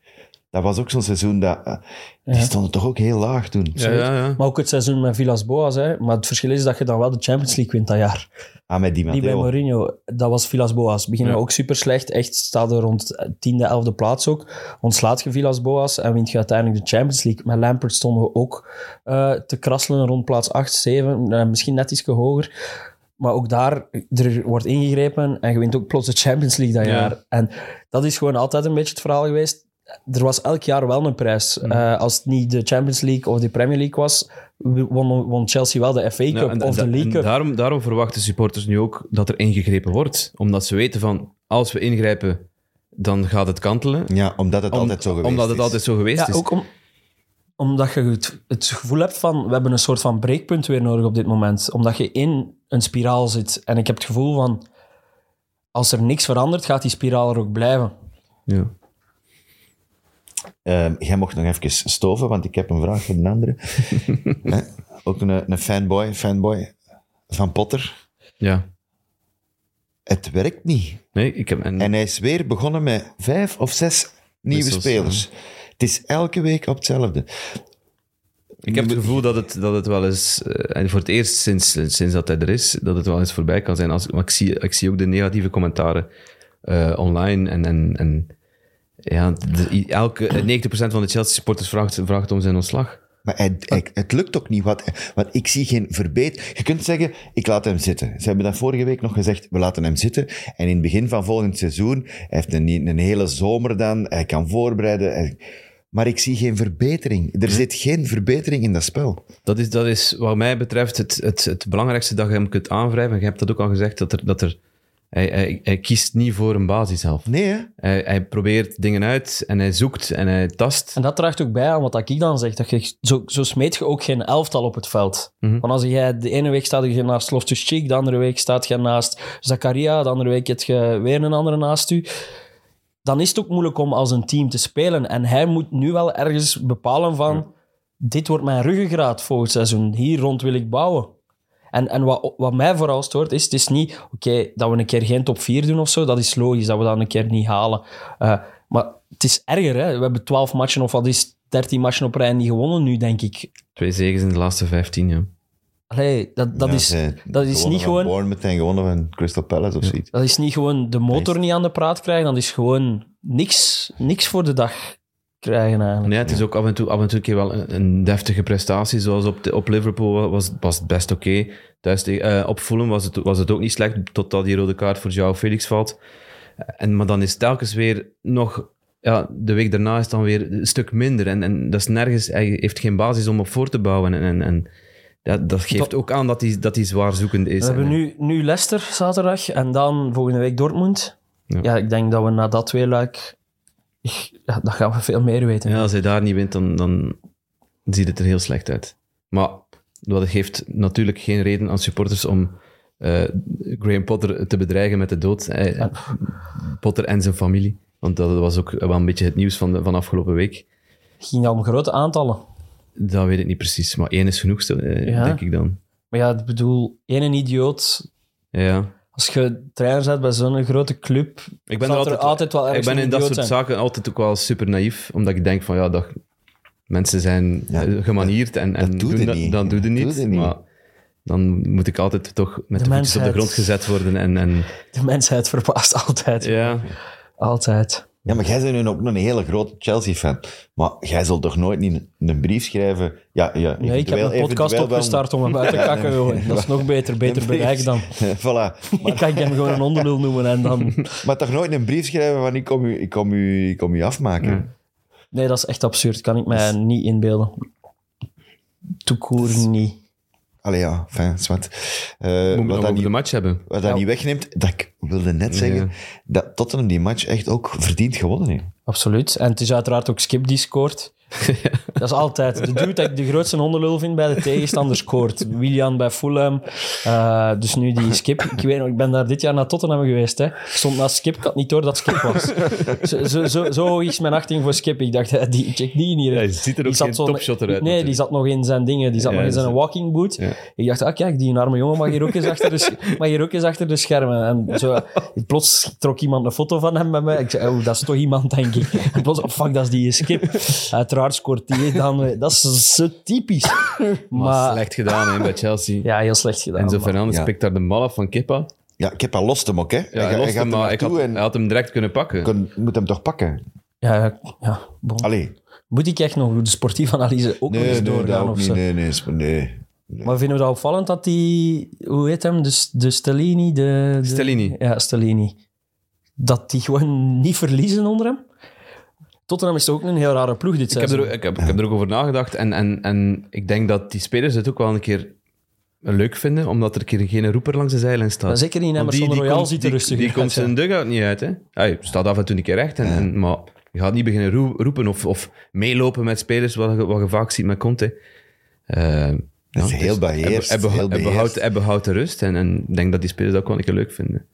S2: Dat was ook zo'n seizoen dat... eh, die
S4: Ja.
S2: stonden toch ook heel laag toen.
S3: Ja, ja, ja.
S4: Maar ook het seizoen met Villas Boas. Hè. Maar het verschil is dat je dan wel de Champions League wint dat jaar.
S2: Ah, met die
S4: Die bij
S2: Matteo.
S4: Mourinho, dat was Villas Boas. Beginnen
S3: Ja.
S4: ook super slecht. Echt staat er rond 10e, 11e plaats ook. Ontslaat je Villas Boas en wint je uiteindelijk de Champions League. Met Lampert stonden we ook eh, te krasselen rond plaats 8, 7. eh, misschien net iets hoger. Maar ook daar, er wordt ingegrepen en je wint ook plots de Champions League dat
S3: Ja.
S4: jaar. En dat is gewoon altijd een beetje het verhaal geweest. Er was elk jaar wel een prijs.
S3: Mhm.
S4: Eh, als het niet de Champions League of de Premier League was, won, won Chelsea wel de FA Cup
S3: Ja, Nou, en-
S4: of de
S3: en-
S4: League
S3: en
S4: Cup.
S3: daarom, daarom verwachten supporters nu ook dat er ingegrepen wordt. Omdat ze weten van, als we ingrijpen, dan gaat het kantelen.
S2: Ja, omdat het
S3: Om-
S2: altijd zo geweest
S3: omdat het
S2: is.
S3: altijd zo geweest
S4: Ja,
S3: is.
S4: ook om, omdat je het, het gevoel hebt van we hebben een soort van breekpunt weer nodig op dit moment. Omdat je in een spiraal zit. En ik heb het gevoel van als er niks verandert, gaat die spiraal er ook blijven.
S3: Ja.
S2: Ehm, jij mocht nog even stoven, want ik heb een vraag voor een andere. Hè? ook een, een fanboy, fanboy van Potter.
S3: ja.
S2: Het werkt niet.
S3: Nee, ik heb... En,
S2: En hij is weer begonnen met vijf of zes nieuwe
S3: Wissels,
S2: spelers. Het is elke week op hetzelfde.
S3: ik heb het gevoel dat het, dat het wel eens... eh, en voor het eerst sinds, sinds dat hij er is, dat het wel eens voorbij kan zijn. Als, maar ik zie, ik zie ook de negatieve commentaren eh, online. En, en, eh, en ja, de- i- elke, 90% van de Chelsea-supporters vraagt, vraagt om zijn ontslag.
S2: Maar hij, hij- het lukt ook niet, want, want ik zie geen verbeet. Je kunt zeggen, ik laat hem zitten. Ze hebben dat vorige week nog gezegd, we laten hem zitten. En in het begin van volgend seizoen, hij heeft een, een hele zomer dan, hij kan voorbereiden. Hij- maar ik zie geen verbetering. Er zit geen verbetering in dat spel.
S3: Dat is, dat is wat mij betreft het, het, het belangrijkste dat je hem kunt aanwrijven. Je hebt dat ook al gezegd, dat, er, dat er, hij, hij, hij kiest niet voor een basiself.
S2: Nee, hè?
S3: Hij, hij probeert dingen uit en hij zoekt en hij tast.
S4: En dat draagt ook bij aan wat ik dan zeg. Dat je, zo, zo smeet je ook geen elftal op het veld. Want als jij de ene week staat je naast Loftus-Cheek, de andere week staat je naast Zakaria, de andere week heb je weer een andere naast u. Dan is het ook moeilijk om als een team te spelen. En hij moet nu wel ergens bepalen van... Dit wordt mijn ruggengraat volgend seizoen. Hier rond wil ik bouwen. En, en wat, wat mij vooral stoort is, het is niet oké dat we een keer geen top 4 doen of zo. Dat is logisch dat we dat een keer niet halen. Eh, maar het is erger, hè. We hebben 12 matchen of wat is 13 matchen op rij niet gewonnen nu, denk ik.
S3: Twee zegens in de laatste 15, ja.
S4: Allee, dat, dat,
S2: Ja,
S4: is,
S2: ze
S4: dat is
S2: gewonnen
S4: niet
S2: van
S4: gewoon...
S2: Bournemouth en gewonnen van Crystal Palace of zoiets.
S4: Dat is niet gewoon de motor niet aan de praat krijgen, dat is gewoon niks, niks voor de dag krijgen eigenlijk.
S3: Nee, het is ook af en toe, af en toe een keer wel een, een deftige prestatie. Zoals op, de- op Liverpool was, was het best oké. Thuis tegen- eh, op Fulham was het, was het ook niet slecht, totdat die rode kaart voor Joao Felix valt. En, maar dan is het telkens weer nog... Ja, de week daarna is het dan weer een stuk minder. En, en dat is nergens... Hij heeft geen basis om op voor te bouwen. En, en, en dat, dat geeft ook aan dat hij, dat hij zwaar zoekend is.
S4: We hebben
S3: En-
S4: nu, nu Leicester zaterdag en dan volgende week Dortmund. Ja,
S3: Ja.
S4: ik denk dat we na dat tweeluik... Ja, dan gaan we veel meer weten.
S3: Ja, als hij daar niet wint, dan, dan ziet het er heel slecht uit. Maar dat geeft natuurlijk geen reden aan supporters om eh, Graham Potter te bedreigen met de dood. Hij- Potter en zijn familie. Want dat was ook wel een beetje het nieuws van, de, van afgelopen week.
S4: ging dat om grote aantallen.
S3: Dat weet ik niet precies, maar één is genoeg, eh,
S4: Ja.
S3: denk ik dan.
S4: Maar ja, ik bedoel, één idioot.
S3: Ja.
S4: Als je trainer bent bij zo'n grote club,
S3: Ik
S4: Zal er altijd wel
S3: Ik
S4: ergens
S3: ben
S4: een
S3: in dat
S4: idioot
S3: soort
S4: zijn.
S3: zaken altijd ook wel super naïef, omdat ik denk van ja, dat, mensen zijn
S2: Ja,
S3: eh, gemanierd en, en
S2: dat doet
S3: doen
S2: het
S3: dat,
S2: niet.
S3: dat doet het
S2: Dat
S3: niet.
S2: doet het niet.
S3: Maar dan moet ik altijd toch met
S4: De
S3: de, voetjes op
S4: mensheid.
S3: de grond gezet worden. En, en,
S4: de mensheid verbaast altijd.
S3: ja.
S4: Altijd.
S2: Ja, maar jij bent nu ook een hele grote Chelsea-fan. Maar jij zult toch nooit niet een, een brief schrijven? Ja, ja,
S4: Nee, ik heb
S2: eventueel-
S4: een podcast
S2: eventueel wel-
S4: opgestart om hem uit te
S2: Ja,
S4: kakken.
S2: nee.
S4: joh. Dat is nog beter, beter
S2: Een brief.
S4: bereik dan.
S2: voilà.
S4: Ik kan hem gewoon een onderdeel noemen en dan...
S2: Maar toch nooit een brief schrijven van ik kom u, ik kom u, ik kom u afmaken.
S4: Nee, dat is echt absurd. Kan ik mij niet inbeelden. Toekoer niet.
S2: Allee, ja, fijn, zwart. Eh,
S3: Moet ik
S2: wat
S3: nog
S2: dat,
S3: over
S2: niet,
S3: de match hebben?
S2: wat dat
S4: Ja.
S2: niet wegneemt, dat ik wilde net zeggen
S3: Ja.
S2: dat Tottenham die match echt ook verdiend gewonnen heeft.
S4: Absoluut. En het is uiteraard ook Skip die scoort. Dat is altijd. De dude dat ik de grootste hondenlul vind bij de tegenstander scoort. Willian bij Fulham. Eh, dus nu die Skip. Ik weet nog, ik ben daar dit jaar naar Tottenham geweest. Hè. Ik stond naast Skip, ik had niet door dat Skip was. Zo, zo, zo, zo hoog is mijn achting voor Skip. Ik dacht, eh, die check die hier.
S3: Ja, je ziet er ook
S4: zat
S3: geen
S4: zo'n-
S3: topshotter uit,
S4: Nee, die
S3: natuurlijk.
S4: zat nog in zijn dingen. Die zat
S3: Ja,
S4: nog in
S3: dat
S4: zijn
S3: is-
S4: walking boot.
S3: Ja.
S4: Ik dacht, ah kijk, die arme jongen mag hier ook eens achter de, sch- mag hier ook eens achter de schermen. En zo, plots trok iemand een foto van hem bij mij. Ik zei, oh, dat is toch iemand, denk ik. En plots, oh fuck, dat is die skip. Uiteraard scoort die dan. eh, Dat is zo typisch.
S3: Maar
S4: Maar
S3: slecht gedaan hè, bij Chelsea.
S4: ja, heel slecht gedaan.
S3: En zo
S4: maar-
S3: Fernandes
S2: Ja.
S3: pikt daar de mal af van Kippa.
S2: Ja, ik heb al lost hem ook, hè.
S3: Ja, hij
S2: gaat-
S3: lost
S2: gaat
S3: hem,
S2: er
S3: maar ik had,
S2: naartoe
S3: hij had hem direct kunnen pakken.
S2: en kon- moet hem toch pakken?
S4: Ja, ja, ja, bon.
S2: Allee.
S4: Moet ik echt nog de sportieve analyse ook nog eens doorgaan?
S2: dat ook
S4: of
S2: niet.
S4: zo?
S2: Nee, nee, nee, nee.
S4: Maar vinden we dat opvallend dat die, hoe heet hem, de, de Stellini, de, de-
S3: Stellini.
S4: Ja, Stellini. Dat die gewoon niet verliezen onder hem? Tottenham is toch ook een heel rare ploeg dit
S3: Ik heb,
S4: seizoen.
S3: er, ook- ik, heb, ik heb er ook over nagedacht. En, en, en ik denk dat die spelers het ook wel een keer leuk vinden, omdat er een keer geen roeper langs de zijlijn staat.
S4: Maar zeker in
S3: Want die-
S4: Emerson
S3: die
S4: Royal
S3: komt-
S4: ziet er
S3: die-
S4: rustig
S3: Die komt zijn dugout niet uit, hè. Hij staat af en toe een keer recht, en, en- maar je gaat niet beginnen roe- roepen of, of meelopen met spelers, wat je, wat je vaak ziet met Conte. Eh,
S2: Dat is
S3: ja,
S2: heel
S3: dus
S2: beheerst.
S3: Hij, beha-
S2: heel
S3: hij
S2: beheerst.
S3: behoudt, hij behoudt de rust, en, en ik denk dat die spelers dat ook wel een keer leuk vinden.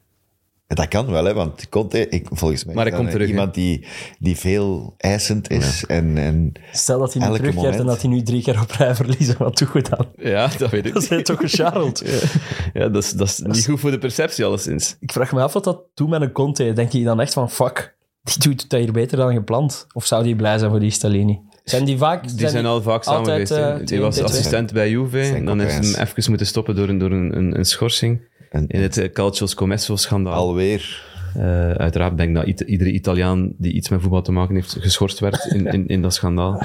S2: Dat kan wel, hè, want Conte, ik, volgens mij
S3: Maar
S2: is
S3: hij
S2: dat
S3: komt terug, hè?
S2: iemand die, die veel eisend is. En, en
S4: Stel dat hij nu
S2: Elke
S4: terugkeert en
S2: moment.
S4: dat hij nu drie keer op rij verliezen, wat doe je dan?
S3: Ja, dat weet ik.
S4: Dat is toch gecharreld?
S3: Ja, dat is, dat is niet goed voor de perceptie, alleszins.
S4: Ik vraag me af wat dat doet met een Conte. Denk je dan echt van, fuck, die doet dat hier beter dan gepland? Of zou die blij zijn voor die Stellini? Zijn die vaak...
S3: Die zijn al vaak samen
S4: altijd,
S3: geweest. hè.
S4: eh,
S3: die
S4: twee-
S3: was
S4: twee- twee.
S3: assistent bij Juve,
S2: Zijn
S3: dan is
S2: concurrents.
S3: hem even moeten stoppen door een, door een, een, een schorsing.
S2: En-
S3: In het eh, Calcio Scomesso-schandaal.
S2: alweer.
S3: Eh, uiteraard denk ik dat iet- iedere Italiaan die iets met voetbal te maken heeft, geschorst werd in, in, in dat schandaal.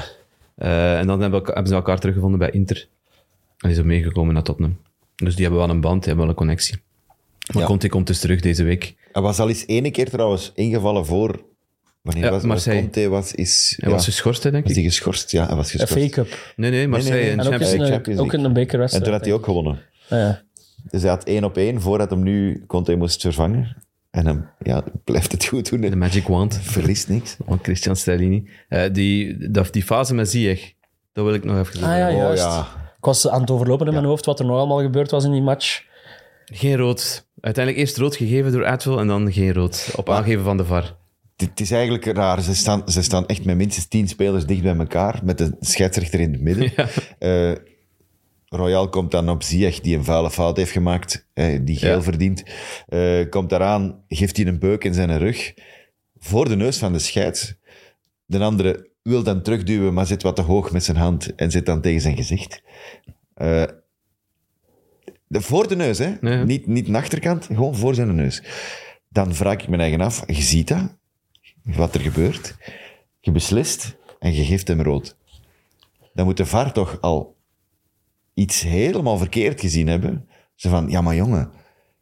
S3: Eh, en dan hebben, we elka- hebben ze elkaar teruggevonden bij Inter. En die zijn meegekomen naar Tottenham. Dus die hebben wel een band, die hebben wel een connectie. Maar
S2: Ja.
S3: Conte komt dus terug deze week.
S2: Hij was al eens ene keer trouwens ingevallen voor... Wanneer
S3: Ja,
S2: was
S3: Marseille.
S2: Conte was, is...
S3: Hij
S2: ja,
S3: was dus- geschorst, hè, denk
S2: was
S3: ik.
S2: hij geschorst? Ja, hij was
S4: Een
S2: geschorst.
S4: fake-up.
S3: Nee, nee, Marseille
S2: nee, nee.
S3: en
S2: En
S4: En ook,
S3: Champions
S4: eens in
S2: League,
S4: een-
S2: Champions
S4: ook
S2: League.
S4: in een
S2: En
S4: bekerwedstrijd.
S2: toen had hij
S4: denk
S2: ook gewonnen.
S4: ik. Ja, ja.
S2: Dus hij had één op één voordat hem nu Conte moest vervangen. En hem ja, blijft het goed doen.
S3: De
S2: en
S3: Magic Wand
S2: Verliest niks.
S3: van Christian Stellini. Eh, die, dat, die fase met Ziyech, dat wil ik nog even
S4: Ah ja,
S2: Oh,
S4: juist.
S2: ja.
S4: Ik was aan het overlopen in mijn hoofd wat er nog allemaal gebeurd was in die match.
S3: Geen rood. Uiteindelijk eerst rood gegeven door Advil en dan geen rood. Op aangeven van de VAR.
S2: Het het is eigenlijk raar. Ze staan, ze staan echt met minstens tien spelers dicht bij elkaar, met de scheidsrechter in het midden. Eh, Royal komt dan op Ziyech, die een vuile fout heeft gemaakt, eh, die geel
S3: Ja.
S2: verdient. Eh, komt daaraan, geeft hij een beuk in zijn rug, voor de neus van de scheids. De andere wil dan terugduwen, maar zit wat te hoog met zijn hand en zit dan tegen zijn gezicht. Eh, de, voor de neus, hè?
S3: ja.
S2: Niet, niet naar achterkant, gewoon voor zijn neus. Dan vraag ik mijn eigen af, je ziet dat, wat er gebeurt. Je beslist en je geeft hem rood. Dan moet de VAR toch al iets helemaal verkeerd gezien hebben. Ze van, ja maar jongen,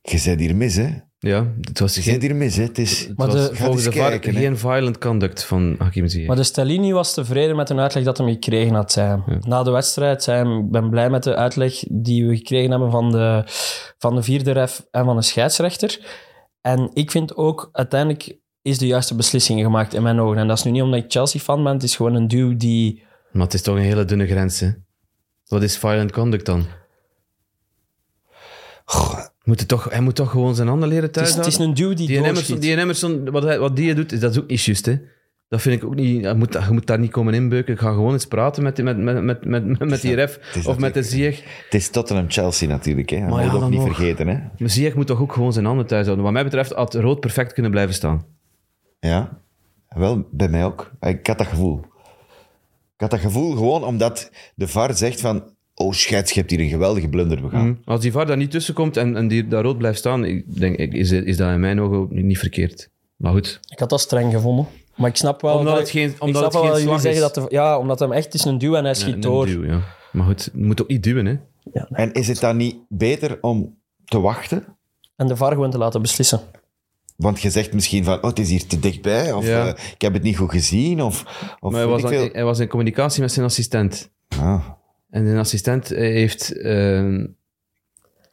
S2: je bent hier mis hè.
S3: Ja, het was
S2: Je
S3: geen,
S2: bent hier mis hè. Het is...
S4: Maar
S3: het was
S4: de-
S2: Ga
S3: volgens de
S2: eens
S3: VAR
S2: kijken, hè.
S3: geen violent conduct van Hakim Ziyech.
S4: Maar de Stellini was tevreden met een uitleg dat hem gekregen had, zei hem. Na de wedstrijd zei hem, ik ben blij met de uitleg die we gekregen hebben van de, van de vierde ref en van de scheidsrechter. En ik vind ook, uiteindelijk is de juiste beslissing gemaakt in mijn ogen. En dat is nu niet omdat ik Chelsea-fan ben, het is gewoon een duw die...
S3: Maar het is toch een hele dunne grens, hè? Wat is violent conduct dan? Moet het toch, hij moet toch gewoon zijn handen leren
S4: Het
S3: thuis
S4: is, het is een duw die,
S3: Die en Emerson,
S4: doorschiet.
S3: die en Emerson wat, hij, wat die doet, is, dat is ook niet juist, hè? Dat vind ik ook niet... Je moet, je moet daar niet komen inbeuken. Ik ga gewoon eens praten met, die- met, met, met, met, met die ref
S2: is
S3: of met de
S2: natuurlijk-
S3: Ziyech.
S2: Het is Tottenham-Chelsea natuurlijk hè. Dat
S3: Maar
S2: moet
S3: ja,
S2: je ook
S3: dan
S2: niet
S3: nog.
S2: vergeten hè.
S3: Maar Ziyech moet toch ook gewoon zijn handen thuis houden. Wat mij betreft had rood perfect kunnen blijven staan.
S2: Ja, wel, bij mij ook. Ik had dat gevoel. Ik had dat gevoel gewoon omdat de VAR zegt van... Oh, scheids, je hebt hier een geweldige blunder begaan.
S3: Hm? Als die VAR daar niet tussen komt en, en die daar rood blijft staan, ik denk, ik, is, is dat in mijn ogen ook niet verkeerd. Maar goed,
S4: Ik had dat streng gevonden. Maar ik snap wel...
S3: Omdat
S4: dat-
S3: het geen-
S4: ik
S3: omdat het
S4: snap wel
S3: geen
S4: dat jullie
S3: slag is.
S4: zeggen dat... de- ja, omdat hem echt het is een duw en hij
S3: Ja,
S4: schiet
S3: een
S4: door.
S3: duw, ja. Maar goed, je moet ook niet duwen, hè?
S2: En is het dan niet beter om te wachten?
S4: En de VAR gewoon te laten beslissen.
S2: Want je zegt misschien van, oh, het is hier te dichtbij. Of
S3: Ja.
S2: eh, ik heb het niet goed gezien. Of, of
S3: Maar hij
S2: weet
S3: was,
S2: ik
S3: dan-
S2: veel.
S3: hij was in communicatie met zijn assistent.
S2: Ah,
S3: En zijn assistent eh, heeft eh,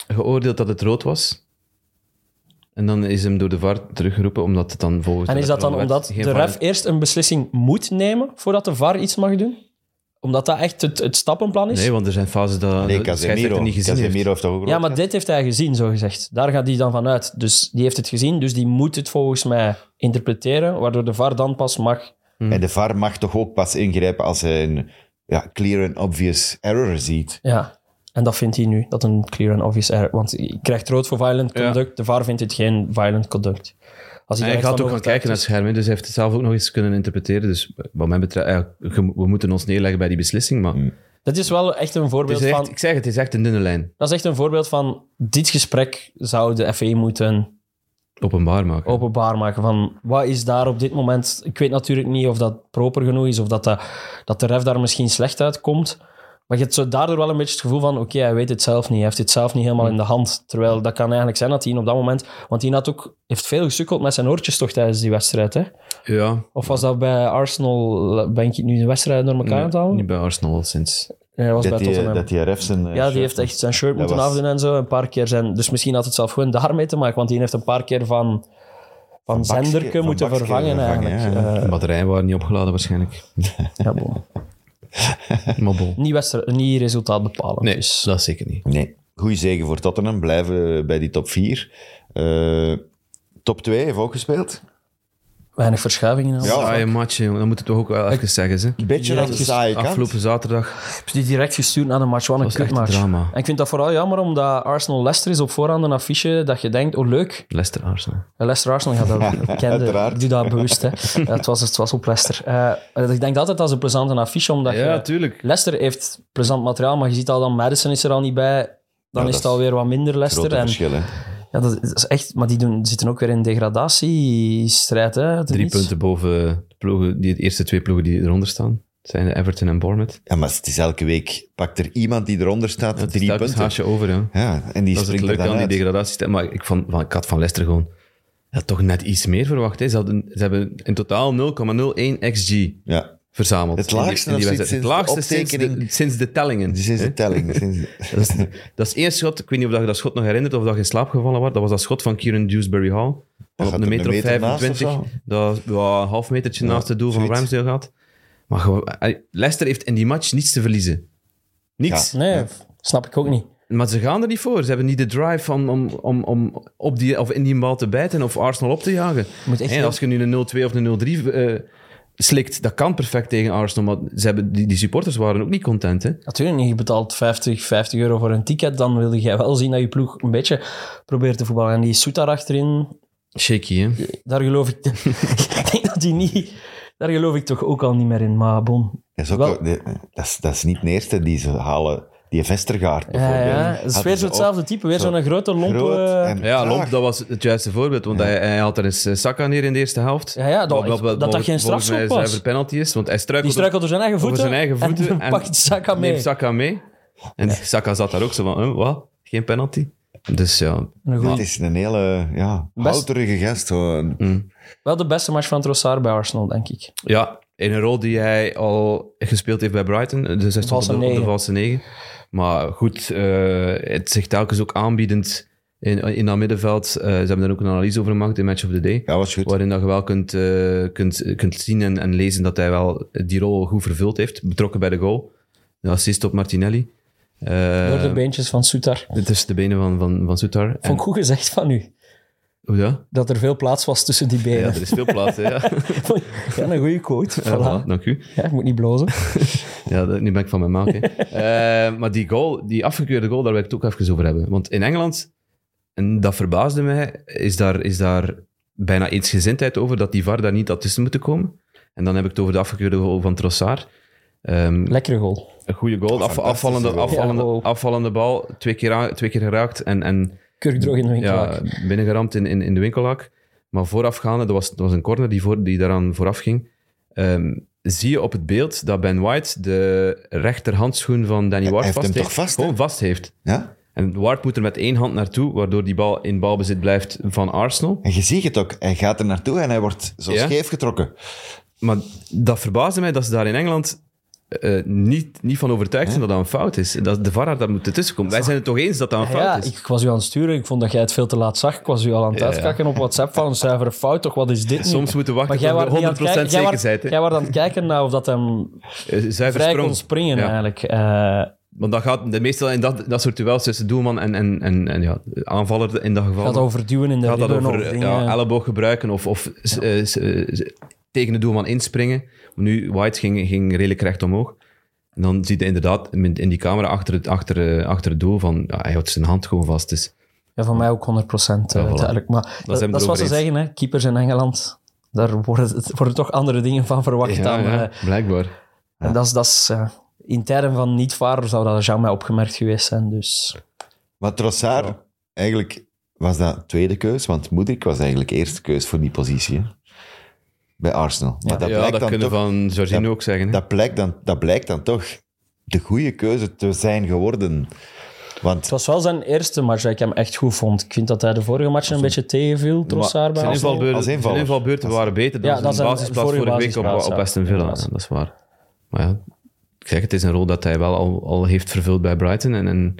S3: geoordeeld dat het rood was. En dan is hem door de VAR teruggeroepen, omdat het dan volgens
S4: En
S3: de
S4: is dat dan
S3: wet
S4: omdat
S3: geen
S4: de
S3: VAR
S4: ref eerst een beslissing moet nemen voordat de VAR iets mag doen? Omdat dat echt het, het stappenplan is?
S3: Nee, want er zijn fases dat
S2: nee,
S3: de scheidsrechter
S2: Casemiro.
S3: niet gezien
S2: Casemiro
S3: heeft.
S2: heeft toch ook
S4: ja,
S2: rood
S4: maar
S2: gehad?
S4: dit heeft hij gezien, zo gezegd. Daar gaat hij dan vanuit. Dus die heeft het gezien, dus die moet het volgens mij interpreteren, waardoor de VAR dan pas mag.
S2: En de VAR mag toch ook pas ingrijpen als hij een ja, clear and obvious error ziet.
S4: Ja. En dat vindt hij nu, dat een clear and obvious error. Want je krijgt rood voor violent
S3: Ja.
S4: conduct, de VAR vindt het geen violent conduct. Als
S3: En
S4: daar
S3: hij
S4: echt
S3: gaat
S4: van
S3: ook gaan kijken naar het scherm, hè, dus hij heeft het zelf ook nog eens kunnen interpreteren. Dus wat mij betreft, ja, ge- we moeten ons neerleggen bij die beslissing.
S2: Mm.
S3: Maar
S4: Dat is wel echt een
S3: het
S4: voorbeeld
S3: is echt-
S4: van...
S3: ik zeg het, het is echt een dunne lijn.
S4: Dat is echt een voorbeeld van... Dit gesprek zou de FE moeten
S3: Openbaar maken.
S4: openbaar maken van wat is daar op dit moment. Ik weet natuurlijk niet of dat proper genoeg is of dat de, dat de ref daar misschien slecht uitkomt. Maar je hebt zo daardoor wel een beetje het gevoel van oké, hij weet het zelf niet. Hij heeft het zelf niet
S2: Mm.
S4: helemaal in de hand. Terwijl dat kan eigenlijk zijn dat hij op dat moment... Want hij had ook, heeft veel gesukkeld met zijn oortjes toch tijdens die wedstrijd. Hè?
S3: Ja,
S4: Of was dat bij Arsenal, eh, ben ik nu de wedstrijd door elkaar aan het halen?
S3: niet bij Arsenal al sinds.
S4: Nee, dat was bij
S2: Dat die,
S4: Tottenham.
S2: dat die ref zijn... eh,
S4: Ja,
S2: shirt
S4: die heeft echt zijn shirt
S2: Dat
S4: moeten
S2: was-
S4: afdoen en zo. Een paar keer zijn... Dus misschien had het zelf gewoon daarmee te maken. Want die heeft een paar keer van... Van,
S2: Bakske-
S4: zenderke
S2: van
S4: moeten
S2: Bakske
S4: vervangen,
S2: vervangen,
S4: eigenlijk.
S2: ja,
S4: Eh,
S3: De batterijen waren niet opgeladen waarschijnlijk.
S4: ja, bon.
S3: Maar bon.
S4: niet, wedstrijd- niet resultaat bepalen.
S3: Nee,
S4: Dus.
S3: dat zeker niet.
S2: Nee. Goeie zegen voor Tottenham. Blijven bij die top 4. top 2 heeft ook gespeeld.
S4: Weinig verschuivingen.
S2: Ja.
S4: Ja.
S3: Saaie match, jongen. Dat moet het toch ook wel even zeggen, ze.
S2: Een beetje aan de
S4: Direct
S2: saaie kant.
S3: Afgelopen zaterdag.
S4: Die direct gestuurd naar de match. Wat een
S3: was echt
S4: kutmatch.
S3: drama.
S4: En ik vind dat vooral jammer, omdat Arsenal-Leicester is op voorhand een affiche dat je denkt, oh leuk,
S3: Leicester Arsenal.
S4: Leicester-Arsenal gaat dat bekende.
S2: Uiteraard.
S4: Ik doe dat bewust, hè. Ja, het, was, het was op Leicester. Eh, ik denk altijd dat is een plezante affiche, omdat je...
S3: tuurlijk.
S4: Leicester heeft plezant materiaal, maar je ziet al dan Madison is er al niet bij. Dan
S2: Ja,
S4: is
S2: dat
S4: het alweer wat minder
S2: Grote
S4: Leicester. En,
S2: verschil, hè.
S4: ja, dat is echt, maar die doen, zitten ook weer in degradatiestrijd. Hè, uit het
S3: Drie
S4: niets.
S3: punten boven de ploegen, die, de eerste twee ploegen die eronder staan. Zijn de Everton en Bournemouth.
S2: Ja, maar het is elke week. Pakt er iemand die eronder staat,
S3: Het is
S2: drie
S3: telkens
S2: punten.
S3: haasje over, ja.
S2: Ja, en die
S3: dat is het
S2: springt er
S3: leuke
S2: dan
S3: aan die
S2: uit.
S3: degradatiesysteem. Maar ik, vond, van, ik had van Leicester gewoon ja, toch net iets meer verwacht. Hè. Ze, hadden, ze hebben in totaal 0,01 xg
S2: Ja,
S3: verzameld.
S2: Het
S3: in die-
S2: laagste
S3: in die
S2: nog
S3: wedstrijd.
S2: sinds
S3: Het
S2: de
S3: laagste sinds de,
S2: optekening.
S3: sinds de tellingen.
S2: dus is
S3: hè.
S2: de telling. Sinds-
S3: Dat is, dat is één schot. Ik weet niet of dat je dat schot nog herinnert of dat je in slaap gevallen was. Dat was dat schot van Kieran Dewsbury Hall. Dat
S2: gaat
S3: op een
S2: er
S3: meter
S2: een
S3: of
S2: meter naast of
S3: 25.
S2: zo?
S3: Dat ja, een half metertje
S2: Ja,
S3: naast het doel van
S2: zoiets.
S3: Ramsdale gaat. Maar gewoon- ey, Leicester heeft in die match niets te verliezen. Niets.
S4: Nee, snap ik ook niet.
S3: Maar ze gaan er niet voor. Ze hebben niet de drive om, om, om, om op die, of in die bal te bijten of Arsenal op te jagen.
S4: Moet echt
S3: en als je nu een 0-2 of een 0-3 eh, slikt, dat kan perfect tegen Arsenal. Maar ze hebben, die, die supporters waren ook niet content. Hè?
S4: Natuurlijk niet. Je betaalt 50, 50 euro voor een ticket. Dan wilde jij wel zien dat je ploeg een beetje probeert te voetballen. En die Soetar achterin,
S3: Shaky, hè?
S4: daar geloof ik... ik denk dat die niet... Daar geloof ik toch ook al niet meer in. Maar bon.
S2: Dat is, ook,
S4: Wel-
S2: nee, dat, is, dat is niet de eerste die ze halen. Die Vestergaard
S4: Ja,
S2: bijvoorbeeld.
S4: ja. Het is
S2: Hadden
S4: weer eh.
S2: ze
S4: zo hetzelfde type. Weer
S2: zo
S4: zo'n grote,
S2: ook
S4: lompe...
S2: groot en
S3: Ja,
S2: traag.
S3: Lomp, dat was het juiste voorbeeld. Want hij, hij had er eens eh, Saka neer in de eerste helft.
S4: Ja, ja, dat-
S3: Wat- wat-
S4: dat dat
S3: volgens-
S4: geen
S3: volgens mij
S4: strafschop was.
S3: zuiver penalty is, want hij
S4: Die
S3: struikelt
S4: struikelt door zijn eigen
S3: over
S4: voeten.
S3: zijn eigen voeten.
S4: En, pakt Saka mee.
S3: Neemt Saka mee. En Saka zat daar ook zo van, huh, wat? Geen penalty? Dus ja,
S4: Een goeie.
S2: Het is een hele ja,
S4: Best-
S2: houterige gast. hoor.
S3: Mm.
S4: Wel de beste match van Trossard bij Arsenal, denk ik.
S3: ja, in een rol die hij al gespeeld heeft bij Brighton. Dus hij stond
S4: Valse
S3: op de, op de
S4: negen.
S3: valse negen. Maar goed, eh, het zich telkens ook aanbiedend in, in dat middenveld. Eh, ze hebben daar ook een analyse over gemaakt in Match of the Day.
S2: Ja, was goed.
S3: Waarin dat je wel kunt, eh, kunt, kunt zien en, en lezen dat hij wel die rol goed vervuld heeft. Betrokken bij de goal. De assist op Martinelli. Eh,
S4: Door de beentjes van Soetar.
S3: Tussen de benen van, van, van Soutar. En-
S4: Vond ik goed gezegd van u.
S3: Hoe dat?
S4: Dat er veel plaats was tussen die
S3: Ja,
S4: benen.
S3: er is veel plaats. hè, ja.
S4: Ja, een goede quote.
S3: Ja,
S4: Voilà.
S3: voilà, dank u.
S4: Ja, ik moet niet blozen.
S3: Ja, dat- nu ben ik van mijn maak. hè. Eh, maar die goal, die afgekeurde goal, daar wil ik het ook even over hebben. Want in Engeland, en dat verbaasde mij, is daar, is daar bijna eensgezindheid over dat die VAR daar niet had tussen moeten komen. En dan heb ik het over de afgekeurde goal van Trossard. Ehm,
S4: Lekkere goal.
S3: een goede goal, af,
S2: fantastische
S3: afvallende,
S2: goal.
S3: afvallende,
S4: Ja, goal.
S3: afvallende bal, twee keer, aan- twee keer geraakt en, en
S4: Kurkdroog in de winkel. Ah,
S3: ja, binnengeramd in, in, in de winkelhak. Maar voorafgaande, dat was, dat was een corner die, voor, die daaraan vooraf ging. Ehm, zie je op het beeld dat Ben White de rechterhandschoen van Danny Ward
S2: heeft hem
S3: vast
S2: toch
S3: heeft.
S2: vast, hè?
S3: gewoon vast heeft.
S2: Ja?
S3: En Ward moet er met één hand naartoe, waardoor die bal in balbezit blijft van Arsenal.
S2: En je ziet het ook. Hij gaat er naartoe en hij wordt zo
S3: Ja?
S2: scheef getrokken.
S3: Maar dat verbaasde mij dat ze daar in Engeland eh, niet, niet van overtuigd zijn dat dat een fout is. Dat de VAR daar moet ertussen komen. Wij zijn het toch eens dat dat een
S4: Ja,
S3: fout is.
S4: ik was u aan het sturen. Ik vond dat jij het veel te laat zag. Ik was u al aan het uitkakken op WhatsApp van een zuivere fout. Toch, wat is dit nu?
S3: Soms moeten we wachten
S4: Maar jij
S3: tot
S4: was
S3: we 100%
S4: niet aan het kijken- jij
S3: zeker
S4: was-
S3: zijn, hè?
S4: Jij was aan het kijken naar of dat hem
S3: Eh, Zuiver
S4: vrij
S3: sprong.
S4: kon springen,
S3: Ja.
S4: eigenlijk. Eh,
S3: Want dat gaat de meestal in dat, dat soort duels tussen doelman en, en, en, en ja, aanvaller in dat geval.
S4: gaat over duwen in de
S3: gaat dat
S4: ribben
S3: over,
S4: of
S3: eh,
S4: dingen.
S3: ja, elleboog gebruiken of, of s- eh, s- eh, s- tegen de doelman inspringen. Nu, White ging, ging redelijk recht omhoog. En dan ziet je inderdaad in in die camera achter het, achter, eh, achter het doel van ja, hij houdt zijn hand gewoon vast. Dus
S4: Ja, van mij ook 100 eh
S3: Ja, voilà.
S4: duidelijk. Maar dat,
S3: zijn we
S4: dat is wat
S3: erover
S4: ze zeggen, hè. keepers in Engeland. Daar worden, worden toch andere dingen van verwacht dan... eh,
S3: blijkbaar.
S4: En dat is... Dat is eh, in tijden van niet-waar zou dat jamais opgemerkt geweest zijn, dus...
S2: Maar Trossard, eigenlijk was dat tweede keus, want Moedrik was eigenlijk eerste keus voor die positie. hè. Bij Arsenal. Maar dat,
S3: ja,
S2: blijkt
S3: dat
S2: dan
S3: kunnen
S2: toch,
S3: we van Jorginho ook zeggen. hè.
S2: dat, blijkt dan, dat blijkt dan toch de goede keuze te zijn geworden. Want
S4: Het was wel zijn eerste match dat ik hem echt goed vond. Ik vind dat hij de vorige match een beetje tegenviel, Trossard bij
S3: Zijn
S4: Arsenal.
S3: invalbeurten,
S2: als invaller.
S3: zijn invalbeurten waren beter dan
S4: Ja,
S3: zijn
S4: dat zijn-
S3: basisplaats
S4: voor uw
S3: vorige week op,
S4: basisplaats,
S3: op
S4: ja.
S3: Aston Villa.
S4: Inderdaad.
S3: Dat is waar. Maar ja, ik zeg, het is een rol dat hij wel al, al heeft vervuld bij Brighton en, en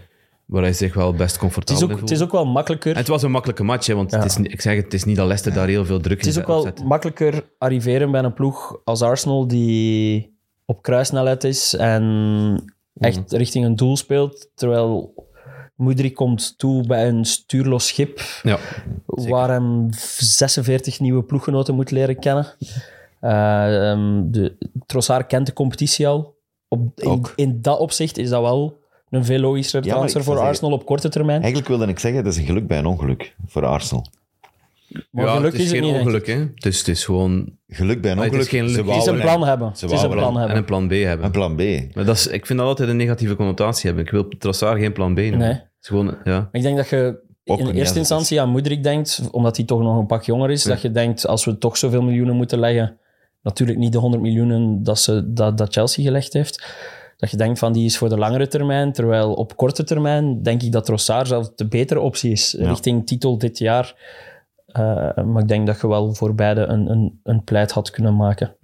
S3: waar hij zich wel best
S4: Het
S3: comfortabel
S4: is,
S3: in
S4: ook, het
S3: voelde.
S4: is ook wel makkelijker.
S3: En het was een makkelijke match, hè, want het is, niet- ik zeg het, het is niet dat Leicester daar heel veel druk
S4: Het is
S3: in
S4: ook wel
S3: opzet.
S4: makkelijker arriveren bij een ploeg als Arsenal die op kruissnelheid is en echt richting een doel speelt, terwijl Moedri komt toe bij een stuurloos schip
S3: Ja,
S4: waar hem 46 nieuwe ploeggenoten moet leren kennen. Eh, ehm, de, Trossard kent de competitie al. Op, in,
S2: Ook.
S4: in dat opzicht is dat wel een veel logischer
S2: maar
S4: transfer
S2: ik
S4: voor
S2: zou zeggen-
S4: Arsenal op korte termijn.
S2: eigenlijk wilde ik zeggen, dat is een geluk bij een ongeluk voor Arsenal.
S4: Maar
S3: ja
S4: geluk
S3: het is,
S4: is het
S3: geen
S4: niet.
S3: ongeluk, hè. Het is, het is gewoon
S2: Geluk bij een
S3: Maar het is
S2: ongeluk.
S3: geen
S2: Ze
S3: geluk.
S4: Het is
S2: wouden
S4: een plan hebben. Het is een
S2: wouden
S4: plan
S3: en een
S4: hebben.
S3: plan B hebben.
S2: een plan B.
S3: Maar dat is, ik vind dat altijd een negatieve connotatie hebben. Ik wil Trossard geen plan B noemen.
S4: Nee.
S3: Het is gewoon, ja.
S4: Ik denk dat je
S2: Ook
S4: in
S2: een
S4: eerste
S2: jazz-
S4: instantie aan Moedrik denkt, omdat hij toch nog een pak jonger is, dat je denkt, als we toch zoveel miljoenen moeten leggen, Natuurlijk niet de 100 miljoen dat, ze, dat, dat Chelsea gelegd heeft. Dat je denkt van die is voor de langere termijn. Terwijl op korte termijn denk ik dat Rossard zelf de betere optie is. Richting titel dit jaar. Eh, maar ik denk dat je wel voor beide een, een, een pleit had kunnen maken.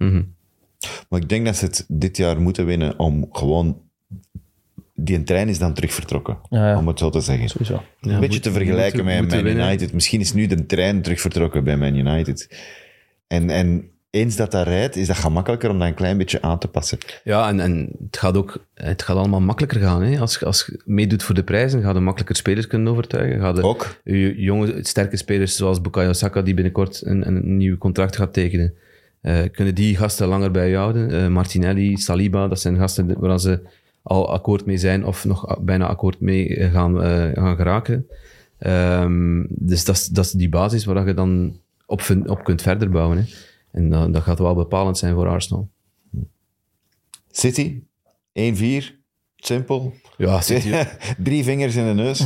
S2: Maar ik denk dat ze het dit jaar moeten winnen om gewoon... Die trein is dan terug vertrokken,
S4: Ja, ja.
S2: om het zo te zeggen.
S4: Sowieso.
S2: een beetje te vergelijken
S3: moeten-
S2: met
S3: moeten
S2: Man
S3: winnen.
S2: United. Misschien is nu de trein terug vertrokken bij Man United. En, en eens dat dat rijdt, is dat gemakkelijker om dat een klein beetje aan te passen.
S3: Ja, en, en het gaat ook het gaat allemaal makkelijker gaan. Hè? Als, je- als je meedoet voor de prijzen, ga je makkelijker spelers kunnen overtuigen. Ga je
S2: Ook.
S3: je jonge, sterke spelers zoals Bukayo Saka, die binnenkort een, een nieuw contract gaat tekenen, eh, kunnen die gasten langer bij je houden. Eh, Martinelli, Saliba, dat zijn gasten waar ze al akkoord mee zijn of nog a- bijna akkoord mee eh, gaan, eh, gaan geraken. Ehm, dus dat is, dat is die basis waar je dan op, vind- op kunt verder bouwen. Hè. En dat, dat gaat wel bepalend zijn voor Arsenal.
S2: City, 1-4, simpel.
S3: Ja, City,
S2: Drie vingers in de neus.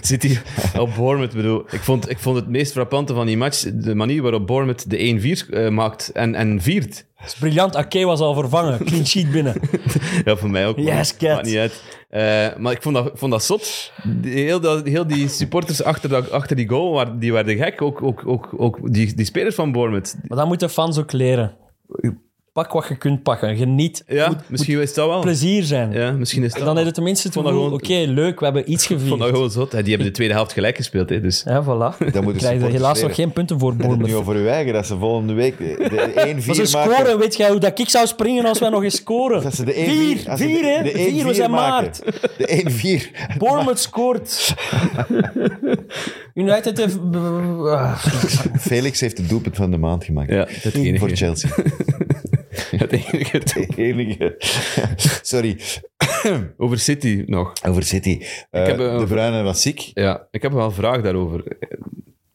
S3: City op Bournemouth, bedoel. Ik vond, ik vond het meest frappante van die match de manier waarop Bournemouth de 1-4 eh, maakt en, en viert.
S4: Het is briljant. Ake was al vervangen. Clean sheet binnen.
S3: Ja, voor mij ook. maar
S4: Yes, cat.
S3: Maakt niet uit. Eh, maar ik vond dat, ik vond dat zot. Die- Heel, dat, heel die supporters achter, dat, achter die goal, waar- die werden gek. Ook, ook, ook, ook die, die spelers van Bournemouth.
S4: Maar dat moeten fans ook leren. Pak wat je kunt pakken. Geniet.
S3: Ja, misschien is dat wel.
S4: Plezier zijn.
S3: Ja, misschien is dat
S4: En dan
S3: wel.
S4: heb je tenminste het
S3: Vond dat
S4: gevoel, oké,
S3: gewoon-
S4: leuk, we hebben iets
S3: Ik vond dat
S4: gevierd.
S3: gewoon zot. Hè, Die hebben de tweede helft gelijk gespeeld. Hè, dus.
S4: Ja, voilà.
S2: de
S4: Dan krijg je
S2: supporters
S4: helaas
S2: leren.
S4: nog geen punten voor
S2: Het nu
S4: Bournemouth.
S2: over uw eigen, dat ze volgende week de, de 1-4
S4: Als ze
S2: maken.
S4: scoren, weet jij hoe dat ik zou springen als wij nog eens scoren?
S2: Dat ze de 1-4
S4: vier,
S2: als ze de-
S4: vier, hè?
S2: de
S4: vier, we
S2: 1-4
S4: zijn
S2: maken.
S4: maart.
S2: De 1-4.
S4: Bournemouth scoort. United heeft... Ah,
S2: Felix heeft het doelpunt van de maand gemaakt.
S3: Ja, het enige.
S2: Voor Chelsea.
S3: Het enige.
S2: De enige. Sorry,
S3: Over City nog.
S2: over City. Eh,
S3: heb, eh,
S2: de Bruyne was ziek.
S3: Ja, ik heb wel een vraag daarover.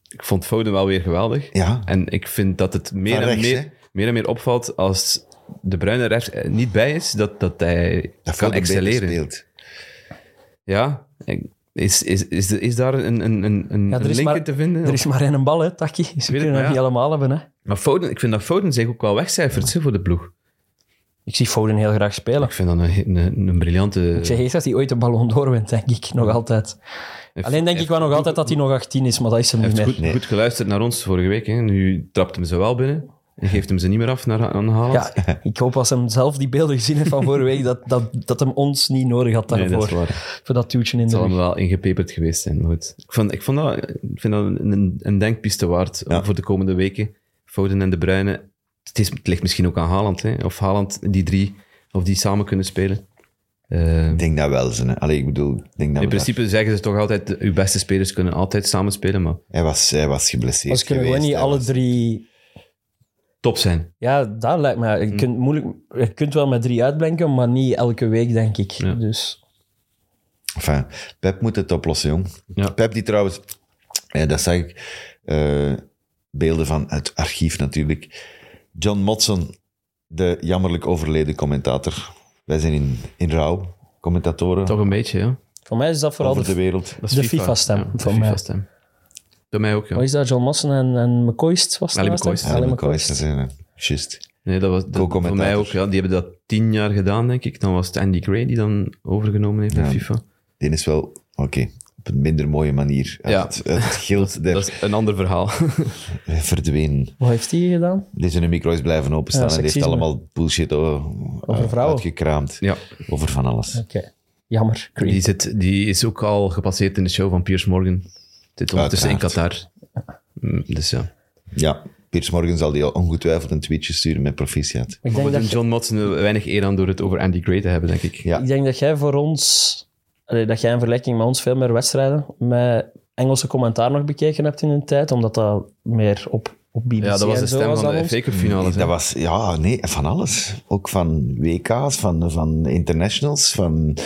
S3: Ik vond Foden wel weer geweldig.
S2: Ja.
S3: En ik vind dat het meer,
S2: Van
S3: en,
S2: rechts, hè?
S3: meer, meer en meer opvalt als de Bruyne er echt niet bij is, dat, dat hij
S2: Dat
S3: kan
S2: Foden beter
S3: excelleren.
S2: Speelt.
S3: Ja, ik- is, is, is, is daar een, een, een, een
S4: Ja, er is
S3: link
S4: maar-
S3: in te vinden?
S4: er is maar één bal, hè, Taki. Ze
S3: het,
S4: kunnen
S3: maar
S4: het
S3: ja.
S4: niet allemaal hebben, hè.
S3: Maar Foden, ik vind dat Foden zich ook wel wegcijfert hè, voor de ploeg.
S4: Ik zie Foden heel graag spelen.
S3: Ik vind dat een, een, een briljante...
S4: Ik zeg eerst dat hij ooit de ballon doorwint, denk ik. Nog altijd. Alleen denk ik wel nog altijd dat hij nog 18 is, maar dat is hem niet
S3: heeft goed,
S4: meer.
S3: goed geluisterd naar ons vorige week. Hè. Nu trapt hem ze wel binnen en geeft hem ze niet meer af naar aan Haaland.
S4: Ja, ik hoop als hem zelf die beelden gezien heeft van vorige week, dat, dat, dat hem ons niet nodig had
S3: Nee,
S4: daarvoor.
S3: dat is waar.
S4: Voor dat duwtje in
S3: Het
S4: de
S3: zal hem
S4: rug.
S3: wel ingepeperd geweest zijn. Maar goed. Ik, vond, ik, vond dat, ik vind dat een, een denkpiste waard
S2: Ja.
S3: voor de komende weken. Foden en De Bruyne. Het, is, het ligt misschien ook aan Haaland. Hè? Of Haaland, die drie, of die samen kunnen spelen. Eh,
S2: Ik denk dat wel. Ze, hè. Allee, ik bedoel, ik denk dat
S3: in
S2: we
S3: principe zeggen ze toch altijd, eh, uw beste spelers kunnen altijd samen spelen, maar
S2: daar- Hij was, hij was geblesseerd
S4: Als kunnen gewoon
S2: geweest,
S4: niet
S2: hij
S4: alle
S2: was-
S4: drie...
S3: top zijn.
S4: Ja, dat lijkt me...
S3: Hm.
S4: Je kunt, moeilijk, je kunt wel met drie uitblinken, maar niet elke week, denk ik. Dus
S2: Enfin, Pep moet het oplossen, jong.
S3: Ja.
S2: Pep die trouwens... eh, dat zag ik. eh, beelden van het archief natuurlijk. John Motson, de jammerlijk overleden commentator. Wij zijn in, in rouw, commentatoren
S3: Toch een beetje, ja.
S4: voor mij is dat vooral
S2: over
S4: de...
S2: de wereld.
S3: Dat
S4: De FIFA-stem
S3: Ja, de
S4: van mij.
S3: FIFA-stem. Door mij ook, ja.
S4: Wat is dat? John Mossen en, en McCoyst was het
S3: Ali
S4: laatste?
S3: McCoyst.
S2: Ja,
S4: Ali
S2: McCoy is
S4: McCoyst.
S2: dat zijn, hè. Just.
S3: Nee, dat was dat- voor
S2: Co-commentators.
S3: mij ook, ja. Die hebben dat tien jaar gedaan, denk ik. Dan was het Andy Gray die dan overgenomen heeft bij FIFA.
S2: Die is wel, oké, op een minder mooie manier uit,
S3: Ja.
S2: het, uit het gild der
S3: Dat is een ander verhaal.
S2: verdwenen.
S4: Wat heeft hij gedaan?
S2: Deze micro is blijven openstaan
S4: Ja,
S2: en die heeft
S4: seksisme.
S2: allemaal bullshit over,
S4: Over vrouwen.
S2: uitgekraamd.
S3: ja.
S2: Over van alles.
S4: Oké. Jammer. Creep.
S3: Die, zit, die is ook al gepasseerd in de show van Piers Morgan. Zit ondertussen in Qatar. Mm, Dus ja.
S2: Ja, Piers Morgan zal die al ongetwijfeld een tweetje sturen met proficiat.
S4: Ik denk
S3: Wordt
S4: dat
S3: een John Motsen eh, weinig eer aan door het over Andy Gray te hebben, denk ik.
S2: Ja,
S4: Ik denk dat jij voor ons, allee, dat jij in vergelijking met ons veel meer wedstrijden met Engelse commentaar nog bekeken hebt in een tijd, omdat dat meer op, op BBC
S3: Ja, dat was de
S4: en zo
S3: stem
S4: was
S3: van
S4: dan
S3: de
S4: ons.
S3: FA Cup finale.
S2: dat was, ja, nee, van alles. Ook van WK's, van, van internationals, van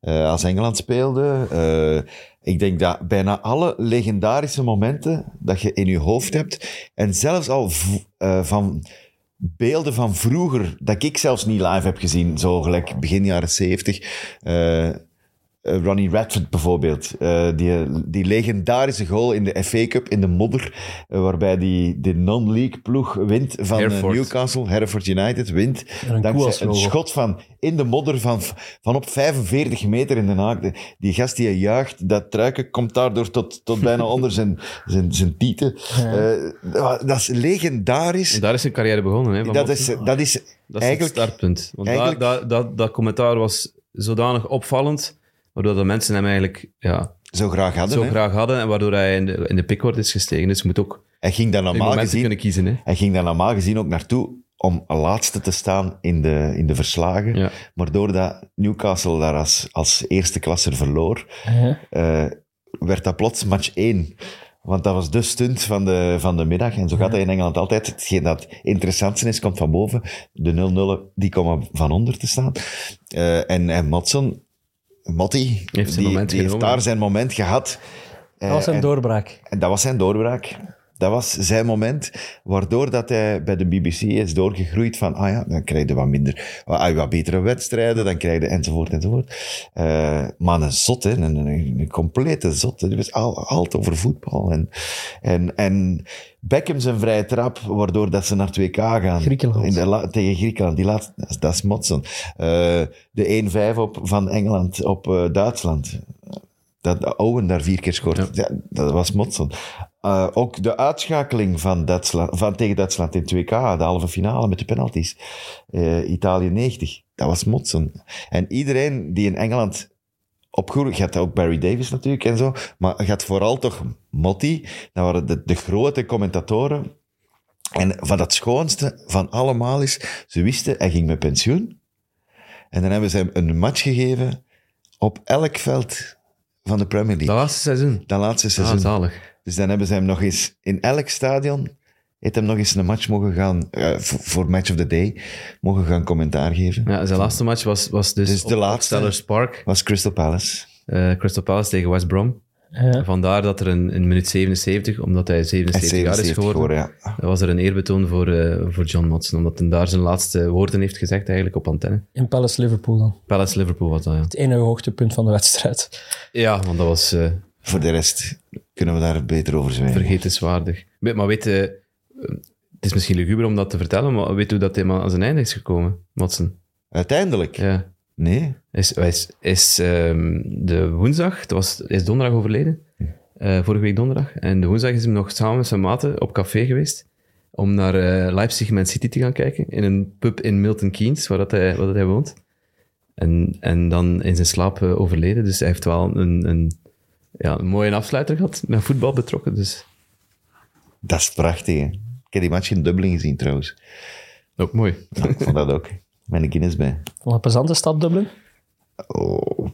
S2: eh, als Engeland speelde. Eh, ik denk dat bijna alle legendarische momenten dat je in je hoofd hebt, en zelfs al v- eh, van beelden van vroeger, dat ik zelfs niet live heb gezien, zo gelijk begin jaren zeventig, eh, Ronnie Radford bijvoorbeeld. Eh, die, die legendarische goal in de FA Cup in de modder, eh, waarbij die, de non-league ploeg wint van eh,
S3: Hereford.
S2: Newcastle, Hereford United wint.
S4: een
S2: dankzij een
S4: koelaslogo.
S2: schot van in de modder van, van op 45 meter in de haak. De- Die gast die je juicht, dat truiken komt daardoor tot, tot bijna onder zijn, zijn, zijn tieten. Eh, dat is legendarisch.
S3: En daar is zijn carrière begonnen. Hè, van
S2: Dat
S3: Mopsen.
S2: is, dat is
S3: dat is
S2: eigenlijk...
S3: het startpunt. Want
S2: eigenlijk-
S3: daar- daar- dat, dat commentaar was zodanig opvallend, waardoor dat mensen hem eigenlijk ja,
S2: zo graag hadden.
S3: zo
S2: hè.
S3: graag hadden en waardoor hij in de, in de pickord is gestegen. Dus je moet ook
S2: Hij ging daar
S3: in
S2: normaal
S3: momenten
S2: gezien,
S3: kunnen kiezen. Hè.
S2: hij ging daar normaal gezien ook naartoe om laatste te staan in de, in de verslagen.
S3: Ja.
S2: Maar doordat Newcastle daar als, als eerste klasser verloor, eh, werd dat plots match 1. Want dat was de stunt van de, van de middag. En zo gaat dat in Engeland altijd. Hetgeen dat het interessantste is, komt van boven. De 0-0, die komen van onder te staan. Eh, en, en Motson, Motti,
S3: zijn
S2: die,
S3: moment
S2: die heeft
S3: genomen.
S2: daar zijn moment gehad.
S4: Dat was
S2: Eh,
S4: een
S2: en-
S4: doorbraak.
S2: en dat was zijn doorbraak. Dat was zijn moment, waardoor dat hij bij de BBC is doorgegroeid van, ah ja, dan krijg je wat minder, ah, wat betere wedstrijden, dan krijg je enzovoort, enzovoort. Eh, maar een zot, hè, een, een, een complete zot. hè. Die was al, altijd over voetbal. En, en, en Beckham zijn vrije trap, waardoor dat ze naar 2K gaan.
S4: Griekenland.
S2: In de la- tegen Griekenland, die laatste, dat is- dat is motsen. Eh, de 1-5 op, van Engeland op eh, Duitsland. Dat Owen daar vier keer scoort. Ja. dat was motsen. Eh, ook de uitschakeling van, Duitsland, van tegen Duitsland in 2K, de halve finale met de penalties. Eh, Italië 90, dat was motsen. En iedereen die in Engeland opgroeide, je had ook Barry Davis natuurlijk en zo, maar je had vooral toch Motti, dat waren de, de grote commentatoren. En van dat schoonste van allemaal is, ze wisten, hij ging met pensioen. En dan hebben ze hem een match gegeven op elk veld van de Premier
S3: Dat
S2: League.
S3: laatste seizoen.
S2: Dat laatste
S3: Ah,
S2: seizoen.
S3: zalig.
S2: Dus dan hebben ze hem nog eens in elk stadion. Heeft hem nog eens een match mogen gaan, eh, voor voor Match of the Day, mogen gaan commentaar geven.
S3: Ja, zijn laatste match was, was dus,
S2: Dus de
S3: op- op
S2: laatste.
S3: Sellers Park,
S2: Was Crystal Palace.
S3: eh, Crystal Palace tegen West Brom.
S4: Ja.
S3: Vandaar dat er een, in minuut 77, omdat hij
S2: En
S3: 77 jaar is
S2: 77
S3: geworden,
S2: geworden, ja.
S3: was er een eerbetoon voor, eh, voor John Motson, omdat hij daar zijn laatste woorden heeft gezegd eigenlijk op antenne.
S4: In Palace Liverpool dan.
S3: Palace Liverpool was dat, ja.
S4: Het enige hoogtepunt van de wedstrijd.
S3: Ja, want dat was eh,
S2: Voor de rest kunnen we daar beter over zwijgen.
S3: vergetenswaardig. We- Maar weet, eh, het is misschien luguber om dat te vertellen, maar weet hoe dat hij maar aan zijn einde is gekomen, Motson?
S2: Uiteindelijk.
S3: Ja.
S2: Nee.
S3: is, hij is, is ehm, de woensdag, het was, hij is donderdag overleden, eh, vorige week donderdag. En de woensdag is hem nog samen met zijn maten op café geweest om naar eh, Leipzig Man City te gaan kijken, in een pub in Milton Keynes, waar, dat hij, waar dat hij woont. En, en dan in zijn slaap eh, overleden, dus hij heeft wel een, een, ja, een mooie afsluiter gehad, met voetbal betrokken. Dus
S2: Dat is prachtig, hè. Ik heb die match in Dublin gezien, trouwens.
S3: ook mooi.
S2: Ja, ik vond dat ook. Met een Guinness bij.
S4: Van een plezante stad Dublin.
S2: Oh.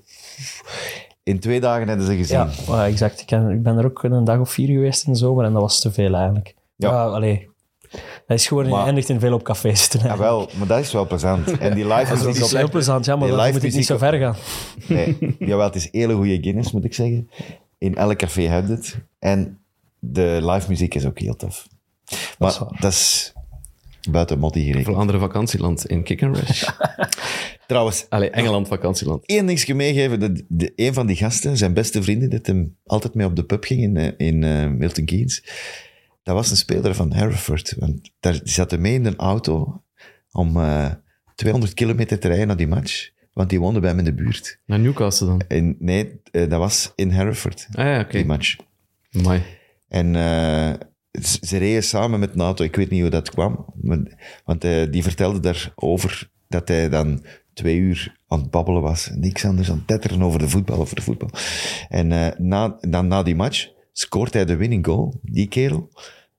S2: In twee dagen hebben ze gezien.
S4: Ja, eh, exact. Ik, ken- ik ben er ook een dag of vier geweest in de zomer en dat was te veel eigenlijk.
S2: Ja.
S4: Ja, allee. Dat is gewoon
S2: Maar-
S4: geëindigd in veel op café zitten.
S2: Ah,
S4: eigenlijk.
S2: wel, maar dat is wel plezant. En die live
S4: dat
S2: muziek
S4: is
S2: op-
S4: heel plezant, ja, maar
S2: die
S4: dan
S2: live
S4: moet ik niet zo
S2: muziek
S4: ver gaan.
S2: Nee, jawel, het is hele goede Guinness, moet ik zeggen. In elk café heb je het. En de live muziek is ook heel tof. Maar
S4: is waar.
S2: dat is buiten motti gerekend.
S3: Vlaanderen vakantieland in Kick and Rush.
S2: Trouwens,
S3: Allee, Engeland vakantieland.
S2: één dingetje meegeven. De, de, een van die gasten, zijn beste vrienden, dat hem altijd mee op de pub ging in, eh, in eh, Milton Keynes. Dat was een speler van Hereford. Want daar die zaten mee in een auto om eh, 200 kilometer te rijden naar die match. Want die woonde bij hem in de buurt.
S3: Naar Newcastle dan.
S2: En nee, eh, dat was in Hereford,
S3: Ah ja,
S2: die
S3: oké.
S2: match.
S3: Mooi.
S2: En eh, ze- ze reden samen met NATO. Ik weet niet hoe dat kwam. maar- want eh, die vertelde daarover dat hij dan twee uur aan het babbelen was. Niks anders dan tetteren over de voetbal, over de voetbal. En eh, na, dan na die match scoort hij de winning goal, die kerel.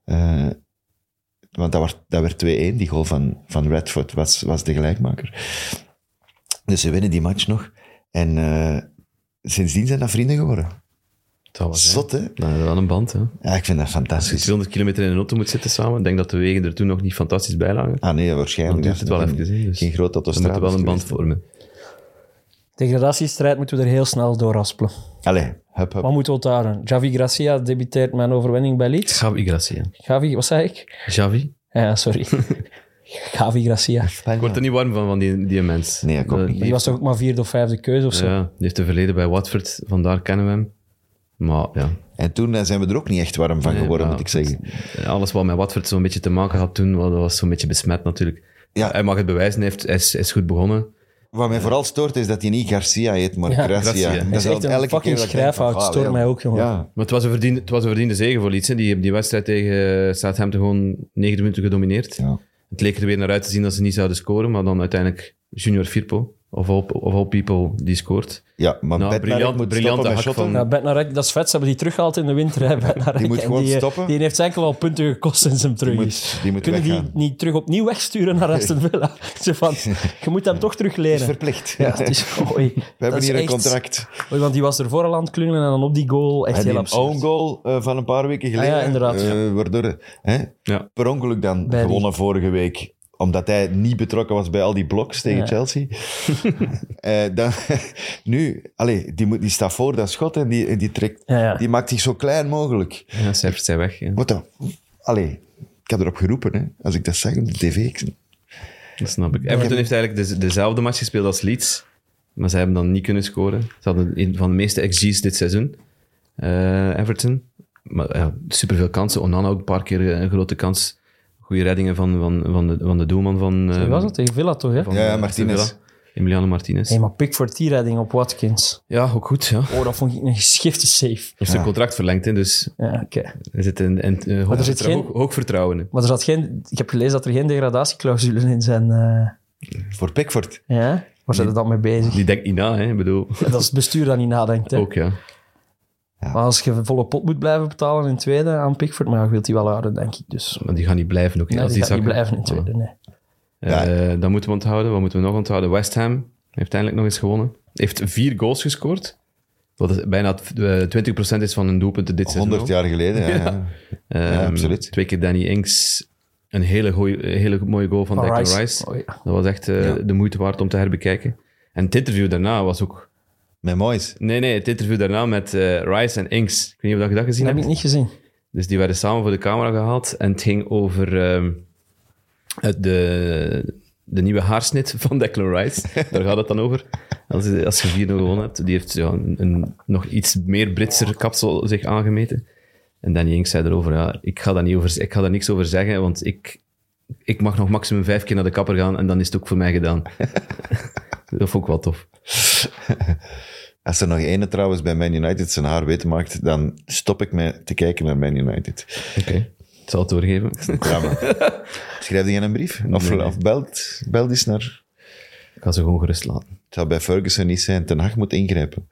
S2: Eh, want dat werd, dat werd 2-1. Die goal van, van Redford was, was de gelijkmaker. Dus ze winnen die match nog. En eh, sindsdien zijn dat vrienden geworden.
S3: Dat was
S2: Zot, hè?
S3: Nou, dat is wel een band, hè.
S2: Ja, ik vind dat
S3: Als je
S2: fantastisch.
S3: 200 kilometer in een auto moet zitten samen, ik denk dat de wegen er toen nog niet fantastisch bij lagen.
S2: Ah nee,
S3: Dan
S2: waarschijnlijk.
S3: duurt het wel
S2: Geen-
S3: even. hè, Dus
S2: Geen grote
S3: we
S2: autostrade.
S3: moeten wel een band vormen.
S4: Degradatiestrijd moeten we er heel snel doorraspelen.
S2: Allee, hup, hup.
S4: Wat moeten we onthouden? Javi Gracia debuteert met een overwinning bij Leeds.
S3: Gavi Gracia.
S4: Javi, wat zei ik?
S3: Javi?
S4: Ja, sorry. Gavi Gracia.
S3: Ik word er niet warm van, van die, die mens.
S2: Nee, ik ook
S3: Dat-
S2: niet.
S4: Die was toch ook maar vierde of vijfde keuze of zo?
S3: Ja, die heeft een verleden bij Watford, vandaar kennen we hem. Maar ja,
S2: En toen eh, zijn we er ook niet echt warm van geworden,
S3: maar
S2: moet ik zeggen.
S3: alles wat met Watford zo'n beetje te maken had toen, wel, dat was zo'n beetje besmet natuurlijk.
S2: Ja.
S3: Hij mag het bewijzen, hij, heeft, hij, is, hij is goed begonnen.
S2: Wat mij vooral stoort is dat hij niet Garcia heet, maar
S4: Ja,
S2: Gracia.
S3: Gracia.
S2: Dat
S3: Hij
S4: is
S2: al
S4: echt een
S2: elke keer
S4: fucking
S2: dat ik denk van,
S4: schrijfhout.
S2: ah,
S4: Stoort
S2: wel.
S4: mij ook, jongen.
S2: Ja.
S3: Maar het was een verdiende, het was een verdiende zege voor Leeds. hè. Die hebben die wedstrijd tegen eh, Southampton gewoon 9 minuten gedomineerd.
S2: Ja.
S3: Het leek er weer naar uit te zien dat ze niet zouden scoren, maar dan uiteindelijk Junior Firpo, of all, of all people, die scoort.
S2: ja, maar
S3: Nou,
S2: Bednarek
S3: briljant-
S2: moet
S3: briljante
S2: stoppen met
S3: hak
S2: shotten.
S3: van-
S4: Ja, Bednarek, dat is vet. Ze hebben die teruggehaald in de winter. Hè, Bednarek.
S2: Die moet
S4: En
S2: gewoon
S4: eh,
S2: stoppen.
S4: Die heeft enkel al punten gekost sinds hem terug
S2: moet-
S4: is.
S2: die moet
S4: Kunnen
S2: weggaan.
S4: die niet terug opnieuw wegsturen naar Aston Villa? Zo van, je moet hem toch terug
S2: Dat is
S4: leren.
S2: verplicht.
S4: Ja, het is, oei,
S2: We hebben hier een contract.
S4: Want die was er voor al aan het klungelen en dan op die goal echt
S2: En
S4: heel
S2: die
S4: absurd. Ah
S2: own goal eh, van een paar weken
S4: ja,
S2: geleden.
S4: inderdaad.
S2: eh, waardoor, hè,
S3: Ja.
S2: per ongeluk dan
S4: Bij die-
S2: gewonnen vorige week omdat hij niet betrokken was bij al die bloks tegen
S4: Ja.
S2: Chelsea. Eh, dan, nu, allee, die, moet, die staat voor dat schot en die, en die, trekt,
S4: Ja, ja.
S2: die maakt zich zo klein mogelijk.
S3: Ja, cijfers zijn weg. ja.
S2: Wat dan? Allee, ik heb erop geroepen, hè, als ik dat zag op de tv. Ik-
S3: Dat snap ik. Everton heeft eigenlijk de- dezelfde match gespeeld als Leeds, maar zij hebben dan niet kunnen scoren. Ze hadden een van de meeste XG's dit seizoen, eh, Everton. Maar ja, superveel kansen. Onana ook een paar keer een grote kans. Goede reddingen van, van, van, de, van de doelman van... eh,
S4: Wie was dat? Tegen Villa toch, hè?
S3: van
S2: Ja, ja,
S3: Aston
S2: Martinez.
S3: Villa. Emiliano Martinez.
S4: Nee, maar Pickford die redding op Watkins.
S3: Ja, ook goed. Ja.
S4: Oh, dat vond ik een geschifte save.
S3: heeft zijn contract verlengd, hè, dus
S4: Ja, oké.
S3: er zit een, een, eh, hoog,
S4: er zit
S3: vertrouwen-
S4: geen-
S3: hoog, hoog vertrouwen in.
S4: Maar er zat geen... Ik heb gelezen dat er geen degradatieclausules in zijn... eh,
S2: Voor Pickford.
S4: Ja? Waar zijn ze dan mee bezig?
S3: Die denkt niet na, hè. Ik bedoel,
S4: Dat is het bestuur dat niet nadenkt. Hè.
S3: ook ja.
S4: Maar als je volle pot moet blijven betalen in tweede aan Pickford, maar je wilt die wel houden, denk ik. Dus
S3: Maar die gaan niet blijven ook. hè,
S4: nee,
S3: als
S4: die Oh. gaat niet
S3: zakken.
S4: blijven in
S3: Ja.
S4: tweede, nee.
S3: Eh, dat moeten we onthouden. Wat moeten we nog onthouden? West Ham heeft eindelijk nog eens gewonnen. Heeft vier goals gescoord. Wat is bijna t- eh, 20% is van hun doelpunten dit seizoen.
S2: 100
S3: al.
S2: jaar geleden. Ja, ja.
S3: Ehm,
S2: ja, absoluut.
S3: Twee keer Danny Inks. Een hele, goeie, een hele mooie goal van
S4: Van
S3: Declan Rice.
S4: Rice. Oh, ja.
S3: Dat was echt eh, de moeite waard om te herbekijken. En het interview daarna was ook...
S2: Met Moyes.
S3: Nee, nee, het interview daarna met eh, Rice en Inks. Ik weet niet of je dat gezien
S4: Dat heb
S3: hebt.
S4: ik niet gezien.
S3: Dus die werden samen voor de camera gehaald. En het ging over ehm, het, de, de nieuwe haarsnit van Declan Rice. Daar gaat het dan over. Als, je- als je 4-0 gewonnen hebt. Die heeft ja, een, een nog iets meer Britser kapsel zich aangemeten. En Danny Ings zei erover, ja, ik, ga daar niet over, ik ga daar niks over zeggen, want ik, ik mag nog maximum vijf keer naar de kapper gaan en dan is het ook voor mij gedaan. dat vond ik wel tof.
S2: Als er nog ene trouwens bij Man United zijn haar wit maakt, dan stop ik met te kijken naar Man United.
S3: Oké. Ik zal het doorgeven.
S2: Ja, maar. Schrijf je een brief? Of,
S3: Nee.
S2: of belt, belt eens naar...
S3: Ik ga ze gewoon gerust laten.
S2: Het zou bij Ferguson niet zijn. Ten Hag moet ingrijpen.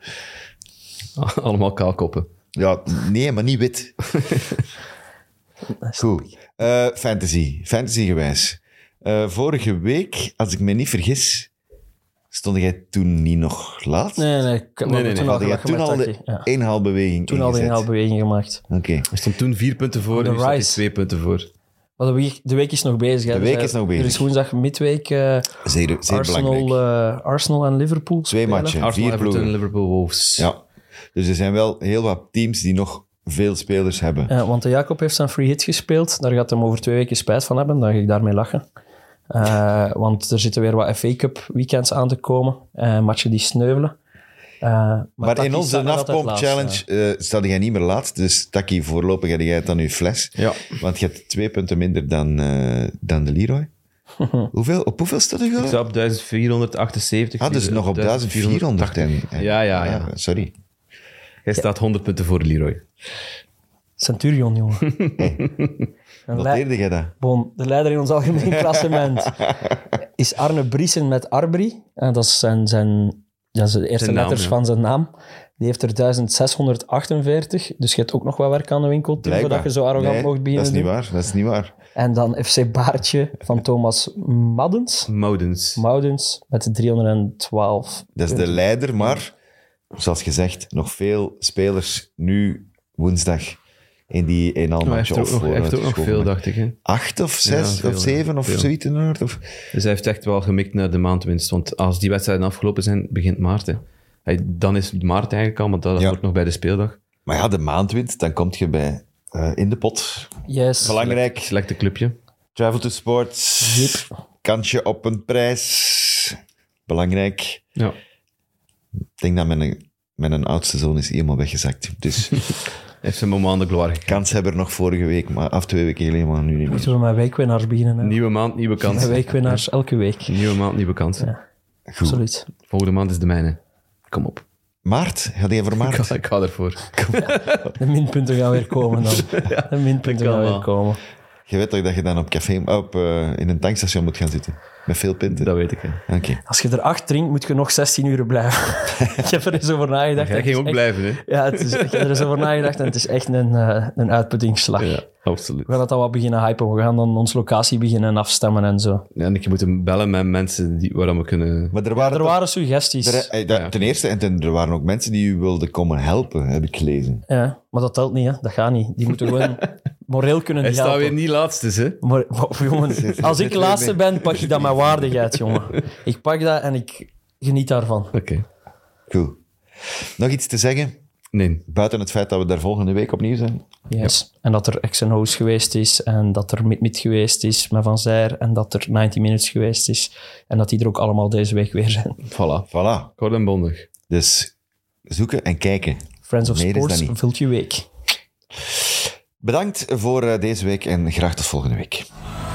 S3: Allemaal kaalkoppen.
S2: Ja, nee, maar niet wit. Goed. Eh, fantasy. Fantasy gewijs. Eh, vorige week, als ik me niet vergis, stond jij toen niet nog laat?
S4: Nee, nee. Ik
S3: Nee,
S4: heb maar
S3: nee,
S4: toen
S3: nee.
S4: al
S2: Had jij
S4: gelachen
S2: toen
S4: met
S2: al
S4: Taki.
S2: de
S4: Ja.
S2: inhaalbeweging
S4: Toen al de
S2: ingezet?
S4: inhaalbeweging gemaakt.
S2: Oké.
S3: Er stond toen vier punten voor
S4: de
S3: en nu staat hij
S4: Rice.
S3: twee punten voor.
S4: Maar de week, de week is nog bezig. Hè.
S2: De
S4: Dus,
S2: week
S4: eh,
S2: is nog bezig.
S4: Er is woensdag midweek eh,
S2: Zeer, zeer belangrijk.
S4: Arsenal, eh, Arsenal en Liverpool
S2: Twee
S4: spelen.
S2: matchen.
S3: Arsenal,
S2: vier
S3: Everton,
S2: ploegen.
S3: Liverpool, Wolves.
S2: Ja. Dus er zijn wel heel wat teams die nog veel spelers hebben.
S4: Ja, Eh, want de Jacob heeft zijn free hit gespeeld. Daar gaat hem over twee weken spijt van hebben. Dan ga ik daarmee lachen. Eh, want er zitten weer wat FA Cup weekends aan te komen. Eh, matchen die sneuvelen. Eh, maar
S2: Maar,
S4: Taki
S2: in onze
S4: staat nog altijd
S2: NAFPOMP
S4: laatst,
S2: Challenge eh staat jij niet meer laat. Dus Taki, voorlopig heb jij het aan je fles.
S3: Ja.
S2: Want je hebt twee punten minder dan, eh, dan de Leroy. hoeveel, op hoeveel staat hij
S3: Ik
S2: wel?
S3: sta op 1478.
S2: Ah, dus nog op 1400. En, en-
S3: Ja, ja, ja.
S2: Ah, Sorry.
S3: Hij staat 100 punten voor Leroy.
S4: eh. Centurion, jongen. Een lei-
S2: Noteerde jij dat?
S4: Bon, de leider in ons algemeen klassement is Arne Briesen met Arbri. En dat is zijn, zijn, ja, zijn eerste
S3: Zijn naam,
S4: letters
S3: ja.
S4: van zijn naam. Die heeft er 1648. Dus je hebt ook nog wat werk aan de winkel, Tim,
S2: Blijkbaar.
S4: voordat je zo arrogant
S2: Nee,
S4: mocht beginnen.
S2: Dat is niet
S4: doen.
S2: waar. Dat is niet waar.
S4: En dan FC Baartje van Thomas Maddens.
S3: Moudens.
S4: Moudens met 312.
S2: Dat is de leider, maar zoals gezegd, nog veel spelers nu woensdag in die
S3: Maar hij
S2: inhaalmatch.
S3: heeft er ook
S2: of
S3: nog, hij heeft er ook nog
S2: vooruitgeschoven
S3: veel,
S2: match.
S3: dacht ik. Hè.
S2: acht of zes
S3: Ja, veel,
S2: of zeven
S3: ja.
S2: of
S3: Veel.
S2: zoiets in de noord, Of...
S3: Dus hij heeft echt wel gemikt naar de maandwinst. Want als die wedstrijden afgelopen zijn, begint maart. Hè. Hij- dan is het maart eigenlijk al, want dat
S2: Ja.
S3: wordt nog bij de speeldag.
S2: Maar ja, de maand wint, dan kom je bij eh, in de pot.
S4: Yes.
S2: Belangrijk.
S3: Selecte clubje.
S2: Travel to sports. Kansje op een prijs. Belangrijk.
S3: Ja.
S2: Ik denk dat mijn, mijn oudste zoon is helemaal weggezakt. Dus
S3: Heeft zijn moment aan de gloire gekregen.
S2: kans hebben er nog vorige week, maar af twee weken geleden, maar nu niet meer.
S4: Moeten we met wijkwinnaars beginnen? Hè?
S3: Nieuwe maand, nieuwe
S4: Met
S3: kans.
S4: wijkwinnaars elke week.
S3: Nieuwe maand, nieuwe kans.
S4: Absoluut.
S3: Volgende maand is de mijne. Kom op.
S2: Maart? Ga je voor
S3: Ik
S2: maart?
S3: ga, ik ga ervoor.
S4: De minpunten gaan weer komen dan. De minpunten
S3: kan
S4: gaan weer
S3: wel.
S4: komen.
S2: Je weet toch dat je dan op café, op, eh, in een tankstation moet gaan zitten? Met veel pinten?
S3: Dat weet ik. hè.
S2: Oké.
S4: Als je er acht drinkt, moet je nog 16 uur blijven. ik heb er eens over nagedacht.
S3: Jij
S4: Het is
S3: ging ook
S4: echt-
S3: blijven, hè?
S4: Ja, het is, ik heb er eens over nagedacht en het is echt een, eh, een uitputtingsslag.
S3: Ja, absoluut.
S4: We gaan dat al wat beginnen hypen. We gaan dan onze locatie beginnen afstemmen en zo.
S3: Ja, En ik moet hem bellen met mensen die, waar we kunnen...
S2: Maar er waren,
S4: Er
S2: toch-
S4: waren suggesties.
S2: er- eh, dat- ten eerste, en ten, er waren ook mensen die u wilden komen helpen, heb ik gelezen.
S4: Ja, maar dat telt niet, hè. dat gaat niet. Die moeten gewoon moreel kunnen
S3: Hij
S4: die
S3: staat
S4: helpen.
S3: weer niet laatste, hè?
S4: Maar, maar jongen, als ik laatste ben, pak ik dat met waardigheid, jongen. Ik pak dat en ik geniet daarvan.
S3: Oké.
S2: Cool. Nog iets te zeggen,
S3: Nee.
S2: buiten het feit dat we daar volgende week opnieuw zijn?
S4: Yes. En dat er X&O's geweest is, en dat er Mid-Mid geweest is met Van Zijr, en dat er 90 Minutes geweest is, en dat die er ook allemaal deze week weer zijn.
S3: Voilà.
S2: Voilà.
S3: Kort en bondig.
S2: Dus zoeken en kijken.
S4: Friends of
S2: Meer is dat
S4: Sports
S2: niet.
S4: vult je week.
S2: Bedankt voor eh, deze week en graag tot volgende week.